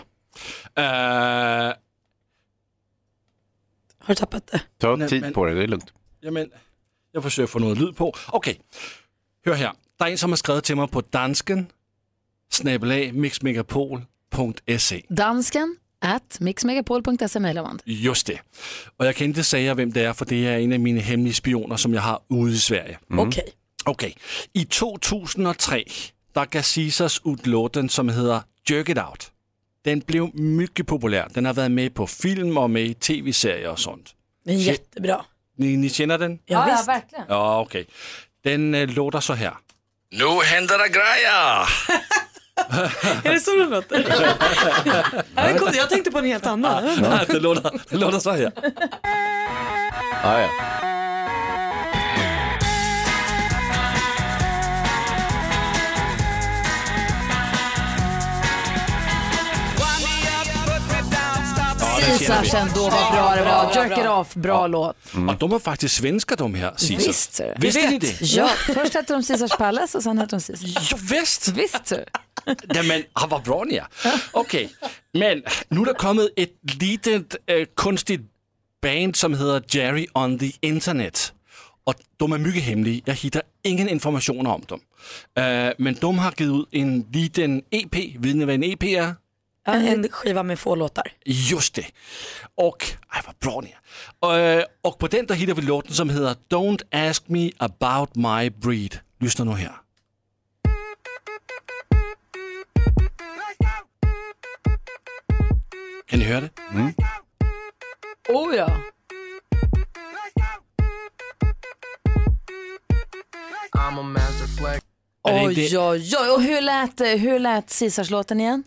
[SPEAKER 7] Øh,
[SPEAKER 3] Har du tappat det?
[SPEAKER 2] Ta
[SPEAKER 7] Nej,
[SPEAKER 2] tid
[SPEAKER 7] men-
[SPEAKER 2] på det, det är lugnt.
[SPEAKER 7] Jamen, jeg forsøger at få noget lyd på. Okay, hør her. Der er en, som har skrevet til mig på dansken, snabelag, mixmegapol.se.
[SPEAKER 1] Dansken at mixmegapol.se mejlar man.
[SPEAKER 7] Just det. Og jeg kan ikke sige, hvem det er, for det er en af mine hemmelige spioner, som jeg har ude i Sverige.
[SPEAKER 3] Mhm. Okay.
[SPEAKER 7] Okay. I 2003, der gav Caesars ud låten, som hedder Jerk It Out. Den blev mycket populær. Den har været med på film og med i tv-serier og sådan.
[SPEAKER 3] Den är jättebra.
[SPEAKER 7] Ni, ni kender den?
[SPEAKER 3] Ja, ja, visst.
[SPEAKER 1] verkligen.
[SPEAKER 7] Ja, okay. Den øh, låter så her.
[SPEAKER 18] Nu händer det
[SPEAKER 2] Ah.
[SPEAKER 18] grejer!
[SPEAKER 3] är det så det låter? Nej, det kom- jag tänkte på en helt annan.
[SPEAKER 7] Nej, det låter, det låter så her.
[SPEAKER 2] Ah, ja.
[SPEAKER 1] Caesars ändå, vad bra det var. Jerk it off, bra låt.
[SPEAKER 3] Mhm.
[SPEAKER 7] Och de är faktiskt svenskar de här, Caesar.
[SPEAKER 1] Visst, ser du.
[SPEAKER 7] Visste ni det?
[SPEAKER 1] Ja, först hette de Caesars Palace och sen hette de Caesars.
[SPEAKER 7] Ja, visst.
[SPEAKER 1] Visst, ser du.
[SPEAKER 7] Jamen, ah, vad bra ni är. Okej, men nu har det kommit ett litet äh, konstigt band som heter Jerry on the Internet. Och de är mycket hemliga. Jag hittar ingen information om dem. Äh, men de har gett ut en E liten EP. Vet ni vad en EP är?
[SPEAKER 3] Ja, En skiva med få låtar.
[SPEAKER 7] Just det. Och, aj vad bra ni är. Äh, och på den där hittar vi låten som heter Don't ask me about my breed. Lyssna nu här. Kan ni höra det?
[SPEAKER 2] Mm.
[SPEAKER 1] Oh ja.
[SPEAKER 18] I'm a master flex.
[SPEAKER 1] Oj,
[SPEAKER 18] Är det
[SPEAKER 1] oj,
[SPEAKER 18] inte-
[SPEAKER 1] oj. Och hur lät, eh, hur lät Caesars-låten igen?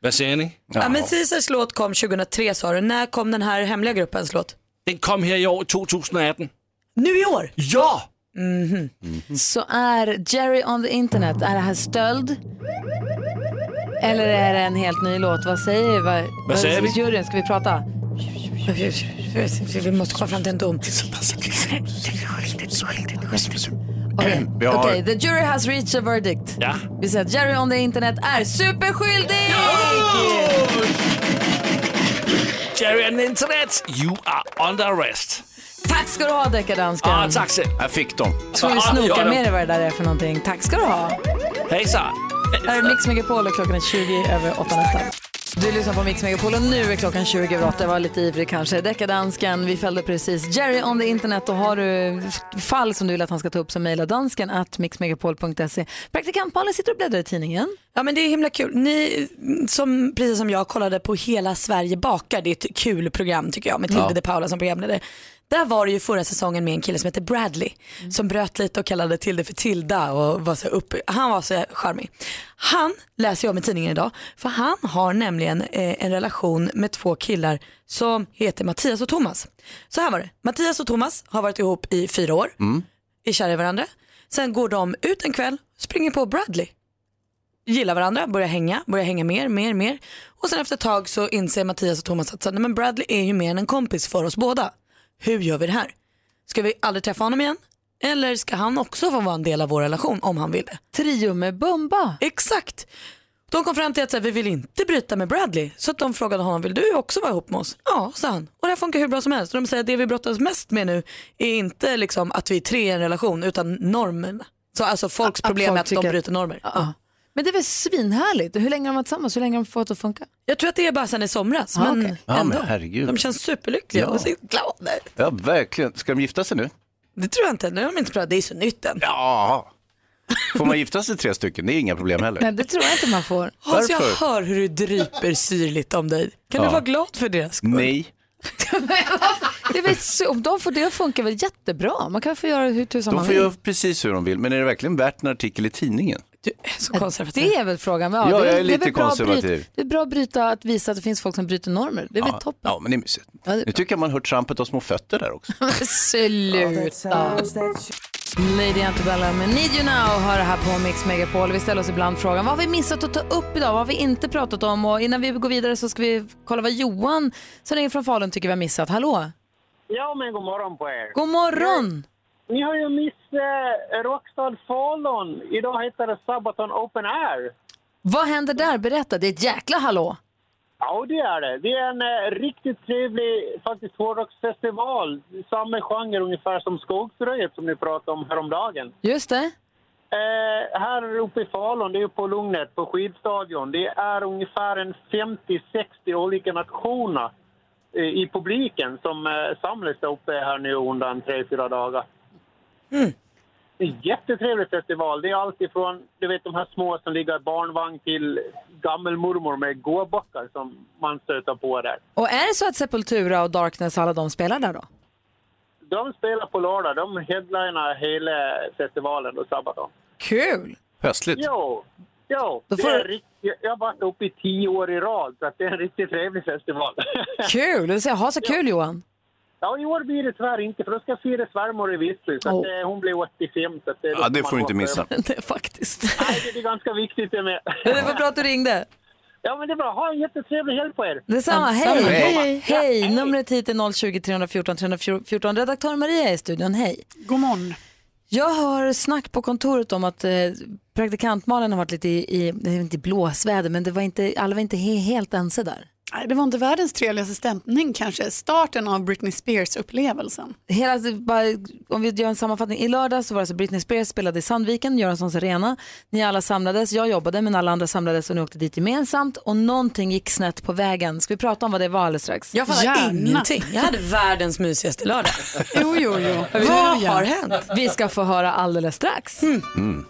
[SPEAKER 7] Vad säger ni?
[SPEAKER 3] Ja, men Caesars låt kom 2003 sa du. När kom den här hemliga gruppens låt?
[SPEAKER 7] Den kom här i år, 2018.
[SPEAKER 3] Nu i år?
[SPEAKER 7] Ja!
[SPEAKER 1] Mhm. Så är Jerry on the internet, är det här stöld? Eller är det en helt ny låt? Vad säger, vad,
[SPEAKER 3] säger vi?
[SPEAKER 1] juryn? Ska vi prata?
[SPEAKER 3] Vi måste komma fram till en dom.
[SPEAKER 1] Okej,
[SPEAKER 3] Vi har-
[SPEAKER 1] okej, the jury has reached a verdict.
[SPEAKER 7] Ja.
[SPEAKER 1] Vi säger att Jerry on the internet är superskyldig!
[SPEAKER 7] Jerry and the Internet, you are under arrest.
[SPEAKER 1] Tack ska du ha deckardansken.
[SPEAKER 7] Ah, tack så. Jag fick dem.
[SPEAKER 1] Tror du snoka
[SPEAKER 7] ja, de-
[SPEAKER 1] med dig vad det där är för någonting. Tack ska du ha.
[SPEAKER 7] Hejsan.
[SPEAKER 1] Här är Mix Megapol och klockan är 20 över 8 nästan. Du lyssnar på Mix Megapol och nu är klockan 20 över 8. Jag var lite ivrig kanske. Deckardansken, vi fällde precis Jerry on the internet och har du f- fall som du vill att han ska ta upp så mejla dansken at mixmegapol.se. Praktikant Malin sitter och bläddrar i tidningen.
[SPEAKER 3] Ja men det är himla kul. Ni som precis som jag kollade på Hela Sverige bakar, det är ett kul program tycker jag med Tilde
[SPEAKER 1] Ja.
[SPEAKER 3] de Paula som programledare. Där var det ju förra säsongen med en kille som heter Bradley som bröt lite och kallade Tilde för Tilda och var så uppe. Han var så charmig. Han läser jag om i tidningen idag för han har nämligen eh, en relation med två killar som heter Mattias och Thomas. Så här var det, Mattias och Thomas har varit ihop i fyra år,
[SPEAKER 2] Mm.
[SPEAKER 3] är kära i varandra. Sen går de ut en kväll, springer på Bradley gillar varandra, börjar hänga, börjar hänga mer, mer, mer. Och sen efter ett tag så inser Mattias och Thomas att så, här, nej, men Bradley är ju mer än en kompis för oss båda. Hur gör vi det här? Ska vi aldrig träffa honom igen? Eller ska han också få vara en del av vår relation om han vill det?
[SPEAKER 1] Trio med Bumba.
[SPEAKER 3] Exakt. De kom fram till att så här, vi vill inte bryta med Bradley. Så att de frågade honom, vill du också vara ihop med oss? Ja, sa han. Och det här funkar hur bra som helst. Och de säger att det vi brottas mest med nu är inte liksom att vi är tre i en relation utan normerna. Så alltså folks
[SPEAKER 1] Att
[SPEAKER 3] problem
[SPEAKER 1] folk
[SPEAKER 3] är att de
[SPEAKER 1] tycker-
[SPEAKER 3] bryter normer.
[SPEAKER 1] Ja. Men det är väl svinhärligt? Hur länge har de varit tillsammans? Hur länge har de fått att funka?
[SPEAKER 3] Jag tror att det är bara sen i somras.
[SPEAKER 1] Ah,
[SPEAKER 3] men
[SPEAKER 1] okej.
[SPEAKER 2] Ja,
[SPEAKER 3] ändå.
[SPEAKER 2] men herregud.
[SPEAKER 3] De känns superlyckliga
[SPEAKER 2] Ja.
[SPEAKER 3] och så glada.
[SPEAKER 2] Ja, verkligen. Ska de gifta sig nu?
[SPEAKER 3] Det tror jag inte. Nu har de inte pratat. Det är så nytt än.
[SPEAKER 2] Ja. Får man gifta sig tre stycken? Det är inga problem heller.
[SPEAKER 1] Nej, det tror jag inte man får.
[SPEAKER 3] Hans, jag
[SPEAKER 2] Varför?
[SPEAKER 3] hör hur du dryper syrligt om dig. Kan
[SPEAKER 2] Ja.
[SPEAKER 3] du vara glad för deras skull?
[SPEAKER 2] Nej.
[SPEAKER 1] det är väl, så- om de får det att funka väl jättebra. Man kan få göra hur tusan
[SPEAKER 2] De
[SPEAKER 1] man
[SPEAKER 2] får
[SPEAKER 1] vill.
[SPEAKER 2] göra precis hur de vill, men är det verkligen värt en artikel i tidningen?
[SPEAKER 1] Det är väl frågan.
[SPEAKER 2] Ja,
[SPEAKER 1] det,
[SPEAKER 2] jag är
[SPEAKER 1] det
[SPEAKER 2] lite
[SPEAKER 1] väl bra att bryta-
[SPEAKER 2] konservativ.
[SPEAKER 1] Det är bra att bryta, att visa att det finns folk som bryter normer. Det är väl
[SPEAKER 2] ja,
[SPEAKER 1] toppen.
[SPEAKER 2] Ja, men det är mysigt.
[SPEAKER 1] Ja, det är
[SPEAKER 2] Nu tycker jag man hör trampet av små fötter där också.
[SPEAKER 1] Sluta. Lady Antebellum med Need You Now hör det här på Mix Megapol. Vi ställer oss ibland frågan vad har vi missat att ta upp idag? Vad har vi inte pratat om? Och innan vi går vidare så ska vi kolla vad Johan som ringer från Falun tycker vi har missat. Hallå?
[SPEAKER 21] Ja, men god morgon på er.
[SPEAKER 1] God morgon!
[SPEAKER 21] Ni har ju miss eh, Rockstad Falun. Idag heter det Sabaton Open Air.
[SPEAKER 1] Vad händer där? Berätta, det är ett jäkla hallå.
[SPEAKER 21] Ja, det är det. Det är en eh, riktigt trevlig faktiskt hårdrocksfestival. Samma genre ungefär som Skogsröjet som ni pratade om häromdagen.
[SPEAKER 1] Just det.
[SPEAKER 21] Eh, här uppe i Falun, det är ju på Lugnet, på skidstadion. Det är ungefär en 50-60 olika nationer eh, i publiken som eh, samlas där uppe här nu under en tre, fyra dagar. Det är en jättetrevlig festival. Det är allt ifrån du vet, de här små som ligger i barnvagn till gammelmormor med gåbockar som man stöter på där.
[SPEAKER 1] Och är det så att Sepultura och Darkness alla de spelar där då?
[SPEAKER 21] De spelar på lördag. De headlinar hela festivalen och Sabaton.
[SPEAKER 1] Kul!
[SPEAKER 2] Höstligt.
[SPEAKER 21] Jo, jo.
[SPEAKER 1] Då
[SPEAKER 21] Det
[SPEAKER 1] får-
[SPEAKER 21] är rikt... Jag har varit uppe i tio år i rad, så att det är en riktigt trevlig festival.
[SPEAKER 1] Kul! Det vill säga, ha så kul Johan.
[SPEAKER 21] ja, i år blir det tyvärr inte, för då ska Fire svärmor i Visby, så att,
[SPEAKER 1] Oh.
[SPEAKER 21] eh, hon blir 85. Så att, eh, då
[SPEAKER 2] Ja, det
[SPEAKER 21] man
[SPEAKER 2] får du inte
[SPEAKER 21] hoppa
[SPEAKER 2] missa.
[SPEAKER 21] över.
[SPEAKER 1] Det är faktiskt.
[SPEAKER 21] Nej, det är ganska viktigt det med.
[SPEAKER 1] Det var bra att du ringde.
[SPEAKER 21] Ja, men det är bra. Ha en jättetrevlig helg på er.
[SPEAKER 1] Detsamma, hej! Hej! hej. Numret hit är 020 314 314. Redaktör Maria är i studion, hej!
[SPEAKER 15] God morgon.
[SPEAKER 1] Jag hör snack på kontoret om att eh, praktikantmalen har varit lite i, i, det är inte i blåsväder, men det var inte, alla var inte he, helt ense där.
[SPEAKER 15] Nej, Det var inte världens trevligaste stämning kanske. Starten av Britney Spears-upplevelsen.
[SPEAKER 1] Hela, alltså, bara, om vi gör en sammanfattning, i lördag så var det så Britney Spears spelade i Sandviken, Göranssons arena. Ni alla samlades, jag jobbade men alla andra samlades och ni åkte dit gemensamt och någonting gick snett på vägen. Ska vi prata om vad det var alldeles strax?
[SPEAKER 3] Jag fattar ingenting. Jag hade världens mysigaste lördag.
[SPEAKER 15] jo, jo, jo.
[SPEAKER 1] Vad har hänt? Vi ska få höra alldeles strax.
[SPEAKER 3] Hmm.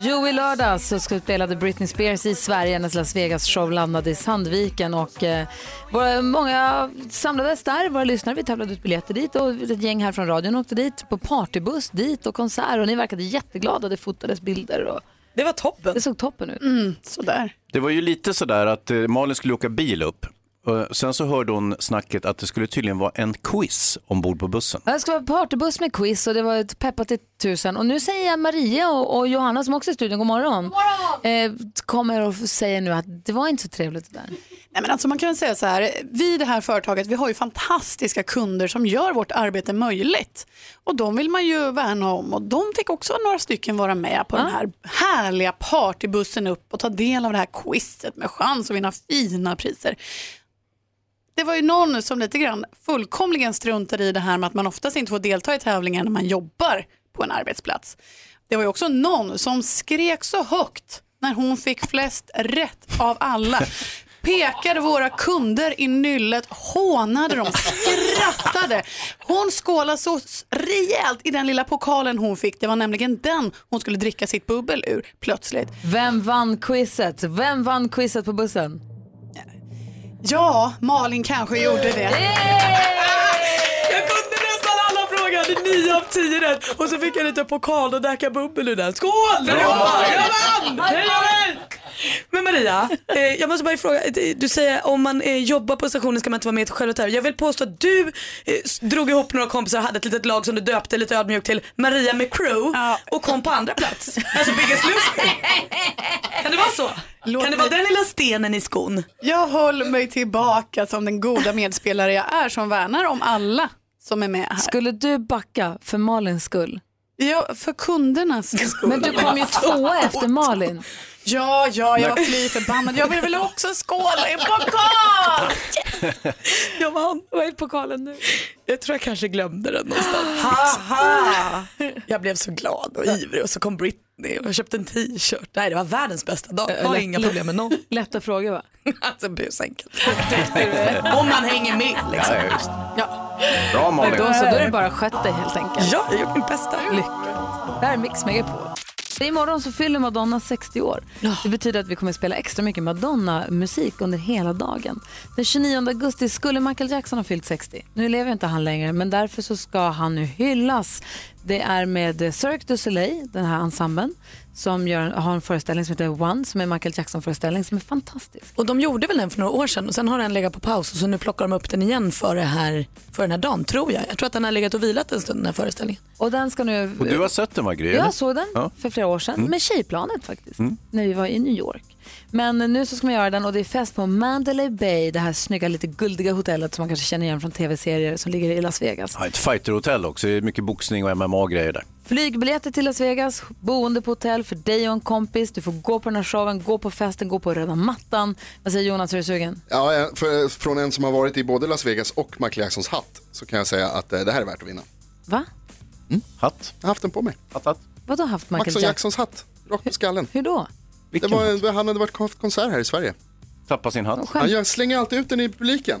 [SPEAKER 1] Jo, i lördags så skulle- spelade Britney Spears i Sverige. Hennes Las Vegas-show landade i Sandviken och eh, våra, många samlades där. Våra lyssnare, vi tävlade ut biljetter dit och ett gäng här från radion åkte dit på partybuss dit och konsert och ni verkade jätteglada. Det fotades bilder och
[SPEAKER 3] det var toppen.
[SPEAKER 1] Det såg toppen ut.
[SPEAKER 15] Mm, sådär.
[SPEAKER 2] Det var ju lite sådär att eh, Malin skulle åka bil upp. Eh, Sen så hörde hon snacket att det skulle tydligen vara en quiz ombord på bussen.
[SPEAKER 1] Ja, Det ska vara partybuss med quiz och det var ett peppat till tusen. Och nu säger jag Maria och, och Johanna som också är i studion, god morgon. Eh, kommer och säger nu att det var inte så trevligt det där.
[SPEAKER 15] Nej, men alltså man kan väl säga så här, vi i det här företaget vi har ju fantastiska kunder som gör vårt arbete möjligt. Och de vill man ju värna om och de fick också några stycken vara med på
[SPEAKER 1] Ah.
[SPEAKER 15] den här härliga partybussen upp och ta del av det här quizet med chans att vinna fina priser. Det var ju någon som lite grann fullkomligen struntade i det här med att man oftast inte får delta i tävlingar när man jobbar på en arbetsplats. Det var ju också någon som skrek så högt när hon fick flest rätt av alla. Pekade våra kunder i nyllet, hånade dem, skrattade. Hon skålade så s- rejält i den lilla pokalen hon fick. Det var nämligen den hon skulle dricka sitt bubbel ur plötsligt.
[SPEAKER 1] Vem vann quizet? Vem vann quizet på bussen?
[SPEAKER 15] Ja, Malin kanske gjorde det.
[SPEAKER 3] Jag kunde nästan alla frågor. Jag hade nio av tio rätt. Och så fick jag lite pokal och däcka bubbel ur den. Skål!
[SPEAKER 15] Bra!
[SPEAKER 3] Jag vann! Hej, jag vann! Men Maria, eh, jag måste bara fråga. eh, Du säger om man eh, jobbar på stationen ska man inte vara med till själva Jag vill påstå att du eh, s- drog ihop några kompisar och hade ett litet lag som du döpte lite ödmjukt till Maria med crew och kom på andra plats. Alltså Biggest Loser. Kan det vara så? kan det vara den lilla stenen i skon?
[SPEAKER 15] Jag håller mig tillbaka som den goda medspelare jag är som värnar om alla som är med här.
[SPEAKER 1] Skulle du backa för Malins skull?
[SPEAKER 15] Ja, för kundernas skull.
[SPEAKER 1] Men du kom ju tvåa efter Malin.
[SPEAKER 15] Ja, ja, jag var fly förbannad. Jag vill väl också skåla i pokal!
[SPEAKER 3] Jag vann. Vad är pokalen nu? Jag tror jag kanske glömde den någonstans.
[SPEAKER 15] Haha.
[SPEAKER 3] Jag blev så glad och ivrig och så kom Britney och jag köpte en t-shirt. Nej, det var världens bästa dag. Jag har
[SPEAKER 1] Lätt-
[SPEAKER 3] inga problem med någon.
[SPEAKER 1] Lätta frågor va?
[SPEAKER 3] Alltså busenkelt. Om man hänger med liksom.
[SPEAKER 1] Ja, just.
[SPEAKER 2] Bra
[SPEAKER 1] Men
[SPEAKER 2] Malin.
[SPEAKER 1] då så, då är det bara skött dig helt enkelt.
[SPEAKER 3] Ja, jag har gjort mitt bästa.
[SPEAKER 1] Lycka. Det här är Mix Megapol. Imorgon så fyller Madonna 60 år. Det betyder att vi kommer spela extra mycket Madonna-musik under hela dagen. Den 29 augusti skulle Michael Jackson ha fyllt 60. Nu lever inte han längre, men därför så ska han nu hyllas. Det är med Cirque du Soleil, den här ensemblen, som gör, har en föreställning som heter One, som är en Michael Jackson-föreställning som är fantastisk.
[SPEAKER 3] Och de gjorde väl den för några år sedan och sen har den legat på paus och så nu plockar de upp den igen för, det här, för den här dagen tror jag. Jag tror att den har legat och vilat en stund den här föreställningen.
[SPEAKER 1] Och den ska nu...
[SPEAKER 2] Och du har sett den va, Gry? eller?
[SPEAKER 1] Jag såg den
[SPEAKER 2] Ja.
[SPEAKER 1] för flera år sedan
[SPEAKER 2] Mm.
[SPEAKER 1] med tjejplanet faktiskt,
[SPEAKER 2] Mm.
[SPEAKER 1] när vi var i New York. Men nu så ska man göra den och det är fest på Mandalay Bay, det här snygga lite guldiga hotellet som man kanske känner igen från tv-serier som ligger i Las Vegas.
[SPEAKER 2] Ja, ett fighterhotell också, det är mycket boxning och MMA-grejer där.
[SPEAKER 1] Flygbiljetter till Las Vegas, boende på hotell för dig och en kompis. Du får gå på den här showen, gå på festen, gå på röda mattan. Vad säger Jonas, är du sugen?
[SPEAKER 16] Ja, eh, för, från en som har varit i både Las Vegas och Michael Jacksons hatt så kan jag säga att eh, det här är värt att vinna.
[SPEAKER 1] Va?
[SPEAKER 2] Mm. Hatt?
[SPEAKER 16] Jag har haft den på mig.
[SPEAKER 2] Hatt, hatt.
[SPEAKER 1] Vadå haft Michael
[SPEAKER 16] Jackson Jacksons hatt, rakt på skallen.
[SPEAKER 1] Hur då?
[SPEAKER 16] det var, han hade varit haft konsert här i Sverige.
[SPEAKER 2] Tappa sin hatt.
[SPEAKER 16] Han gör, slänger alltid ut den i publiken.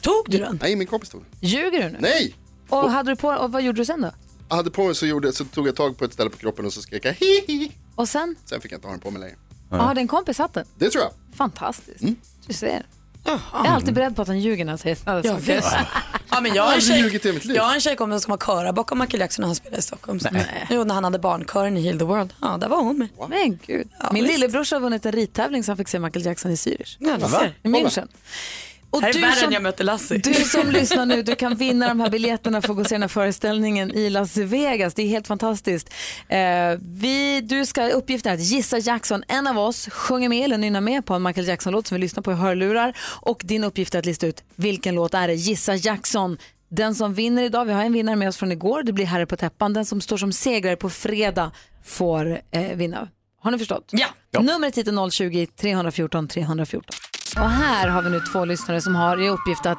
[SPEAKER 3] Tog du den?
[SPEAKER 16] Nej, min kompis tog den.
[SPEAKER 1] Ljuger du nu?
[SPEAKER 16] Nej!
[SPEAKER 1] Och, hade du på, och vad gjorde du sen då?
[SPEAKER 16] Jag hade på mig så, gjorde, så tog jag tag på ett ställe på kroppen och så skrek jag hihi.
[SPEAKER 1] Och sen?
[SPEAKER 16] Sen fick jag inte ha den på mig längre.
[SPEAKER 1] Ja. Har din kompis hatten?
[SPEAKER 16] Det tror jag.
[SPEAKER 1] Fantastiskt. Du ser. Jag är alltid beredd på att han ljuger när han säger sådana
[SPEAKER 3] Ja,
[SPEAKER 1] saker.
[SPEAKER 3] visst. Ja, men jag,
[SPEAKER 1] Jag har
[SPEAKER 3] har en
[SPEAKER 1] aldrig
[SPEAKER 3] tjej,
[SPEAKER 1] ljugit i mitt liv.
[SPEAKER 3] jag har en tjejkompis som var köra bakom Michael Jackson när han spelade i Stockholm. Nej. Jo, när han hade barnkören i Heal the World. Ja, där var hon med.
[SPEAKER 1] Men gud. Min lillebrorsa har vunnit en ridtävling så han fick se Michael Jackson i Zürich.
[SPEAKER 3] Ja, du ser.
[SPEAKER 1] I München.
[SPEAKER 3] Och här är
[SPEAKER 1] du
[SPEAKER 3] värre
[SPEAKER 1] som-
[SPEAKER 3] än jag mötte Lassie.
[SPEAKER 1] Du som lyssnar nu, du kan vinna de här biljetterna för att gå och se den här föreställningen i Las Vegas. Det är helt fantastiskt. Eh, vi, du ska, uppgiften är att gissa Jackson. En av oss sjunger med eller nynnar med på en Michael Jackson-låt som vi lyssnar på i hörlurar. Och din uppgift är att lista ut vilken låt är det? Gissa Jackson. Den som vinner idag, vi har en vinnare med oss från igår, det blir Herre på täppan. Den som står som segrare på fredag får eh, vinna. Har ni förstått? Ja. Numret hit är 020-314 314. Och här har vi nu två lyssnare som har i uppgift att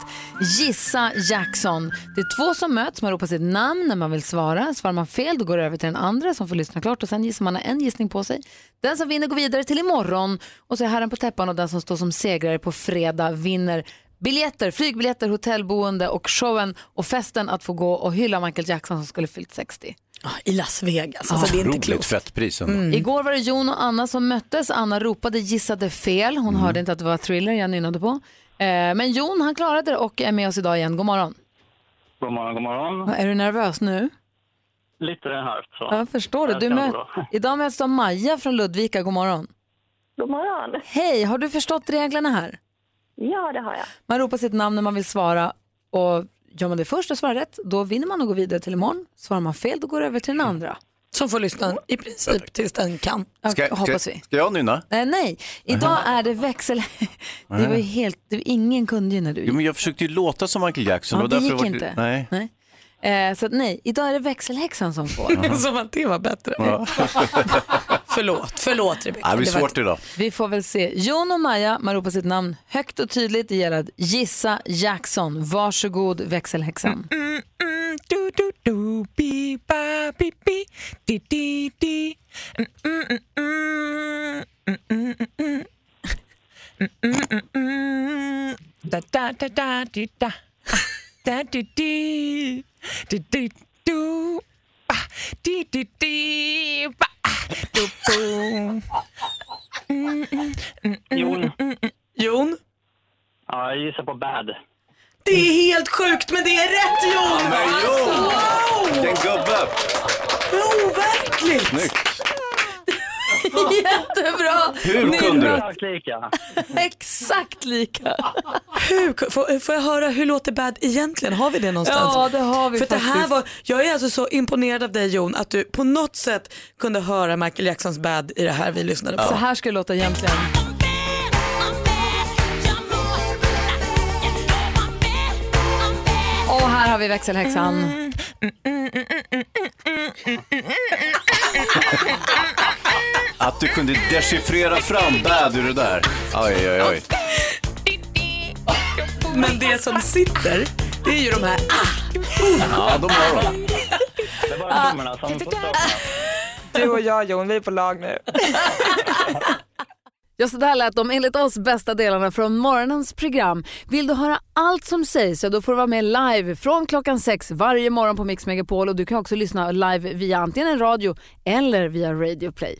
[SPEAKER 1] gissa Jackson. Det är två som möts, man ropar sitt namn när man vill svara. Svarar man fel då går det över till den andra som får lyssna klart och sen gissar man har en gissning på sig. Den som vinner går vidare till imorgon och så är herren på täppan och den som står som segrare på fredag vinner biljetter, flygbiljetter, hotellboende och showen och festen att få gå och hylla Michael Jackson som skulle fyllt Ah. 60.
[SPEAKER 3] Ah, I Las Vegas. Alltså, det är inte
[SPEAKER 2] Otroligt
[SPEAKER 3] klokt.
[SPEAKER 2] fett pris ändå.
[SPEAKER 1] Igår var det Jon och Anna som möttes. Anna ropade gissade fel.
[SPEAKER 3] Mm.
[SPEAKER 1] Hon hörde inte att det var thriller jag nynnade på. Eh, men Jon han klarade det och är med oss idag igen. God morgon.
[SPEAKER 22] God morgon, god morgon.
[SPEAKER 1] Är du nervös nu?
[SPEAKER 22] Lite den här. Så.
[SPEAKER 1] Ja, jag förstår det.
[SPEAKER 22] här
[SPEAKER 1] Du
[SPEAKER 22] känns
[SPEAKER 1] mö-
[SPEAKER 22] bra.
[SPEAKER 1] idag möts du av Maja från Ludvika. God morgon.
[SPEAKER 4] God morgon.
[SPEAKER 1] Hej, har du förstått reglerna här?
[SPEAKER 4] Ja, det har jag.
[SPEAKER 1] Man ropar sitt namn när man vill svara och gör man det först och svarar rätt, då vinner man och går vidare till imorgon. Svarar man fel, då går det över till den andra.
[SPEAKER 3] Som får lyssna i princip tills den kan.
[SPEAKER 1] Ja, hoppas vi.
[SPEAKER 2] Ska jag nynna?
[SPEAKER 1] Eh, nej, idag är det växel... det var ju helt... Det, ingen kunde ju när du
[SPEAKER 2] Jo, men jag försökte ju låta som Michael Jackson.
[SPEAKER 1] Ja,
[SPEAKER 2] och
[SPEAKER 1] det
[SPEAKER 2] därför
[SPEAKER 1] gick
[SPEAKER 2] var...
[SPEAKER 1] inte.
[SPEAKER 2] Nej.
[SPEAKER 1] Eh, så att nej, idag är det växelhäxan som får.
[SPEAKER 2] Jaha. Som
[SPEAKER 3] att det var bättre.
[SPEAKER 2] Ja.
[SPEAKER 3] förlåt, förlåt Rebecka.
[SPEAKER 2] Ja, det blir
[SPEAKER 3] var-
[SPEAKER 2] svårt idag.
[SPEAKER 1] Vi får väl se. Jon och Maja, man ropar sitt namn högt och tydligt. Det gäller att gissa Jackson. Varsågod växelhäxan.
[SPEAKER 23] Mm, do do do bi ba bi bi di di di Mm, mm, mm, mm, mm, mm, mm. Mm, mm, mm, mm. da da da da di da da di di di di do ba di di di ba do boom Mm,
[SPEAKER 22] Jon.
[SPEAKER 3] Jon?
[SPEAKER 22] Ja, jag gissar på Bad.
[SPEAKER 3] Det är helt sjukt men det är rätt Jon!
[SPEAKER 22] Men Jon!
[SPEAKER 3] Wow!
[SPEAKER 22] Vilken
[SPEAKER 2] gubbe!
[SPEAKER 3] Overkligt!
[SPEAKER 2] Snyggt! Mm.
[SPEAKER 1] Jättebra!
[SPEAKER 2] Hur kunde du?
[SPEAKER 22] Lika.
[SPEAKER 1] Exakt lika.
[SPEAKER 3] Hur, ku- får, eh, får jag höra hur låter Bad egentligen? Har vi det någonstans?
[SPEAKER 1] Ja, det har vi
[SPEAKER 3] För det här
[SPEAKER 1] faktiskt.
[SPEAKER 3] var, jag är alltså så imponerad av dig Jon att du på något sätt kunde höra Michael Jacksons Bad i det här vi lyssnade på.
[SPEAKER 1] Så här ska det låta egentligen. Och här har vi växelhäxan.
[SPEAKER 2] Att du kunde dechiffrera fram bad ur det där. Oj, oj, oj.
[SPEAKER 10] Men det som sitter, det är ju de här ah,
[SPEAKER 2] Ja, de har de.
[SPEAKER 24] Det var blommorna som får stå.
[SPEAKER 25] Du och jag Jon, vi är på lag nu.
[SPEAKER 1] Ja, så där lät de enligt oss bästa delarna från morgonens program. Vill du höra allt som sägs så då får du vara med live från klockan sex varje morgon på Mix Megapol och du kan också lyssna live via antingen en radio eller via Radio Play.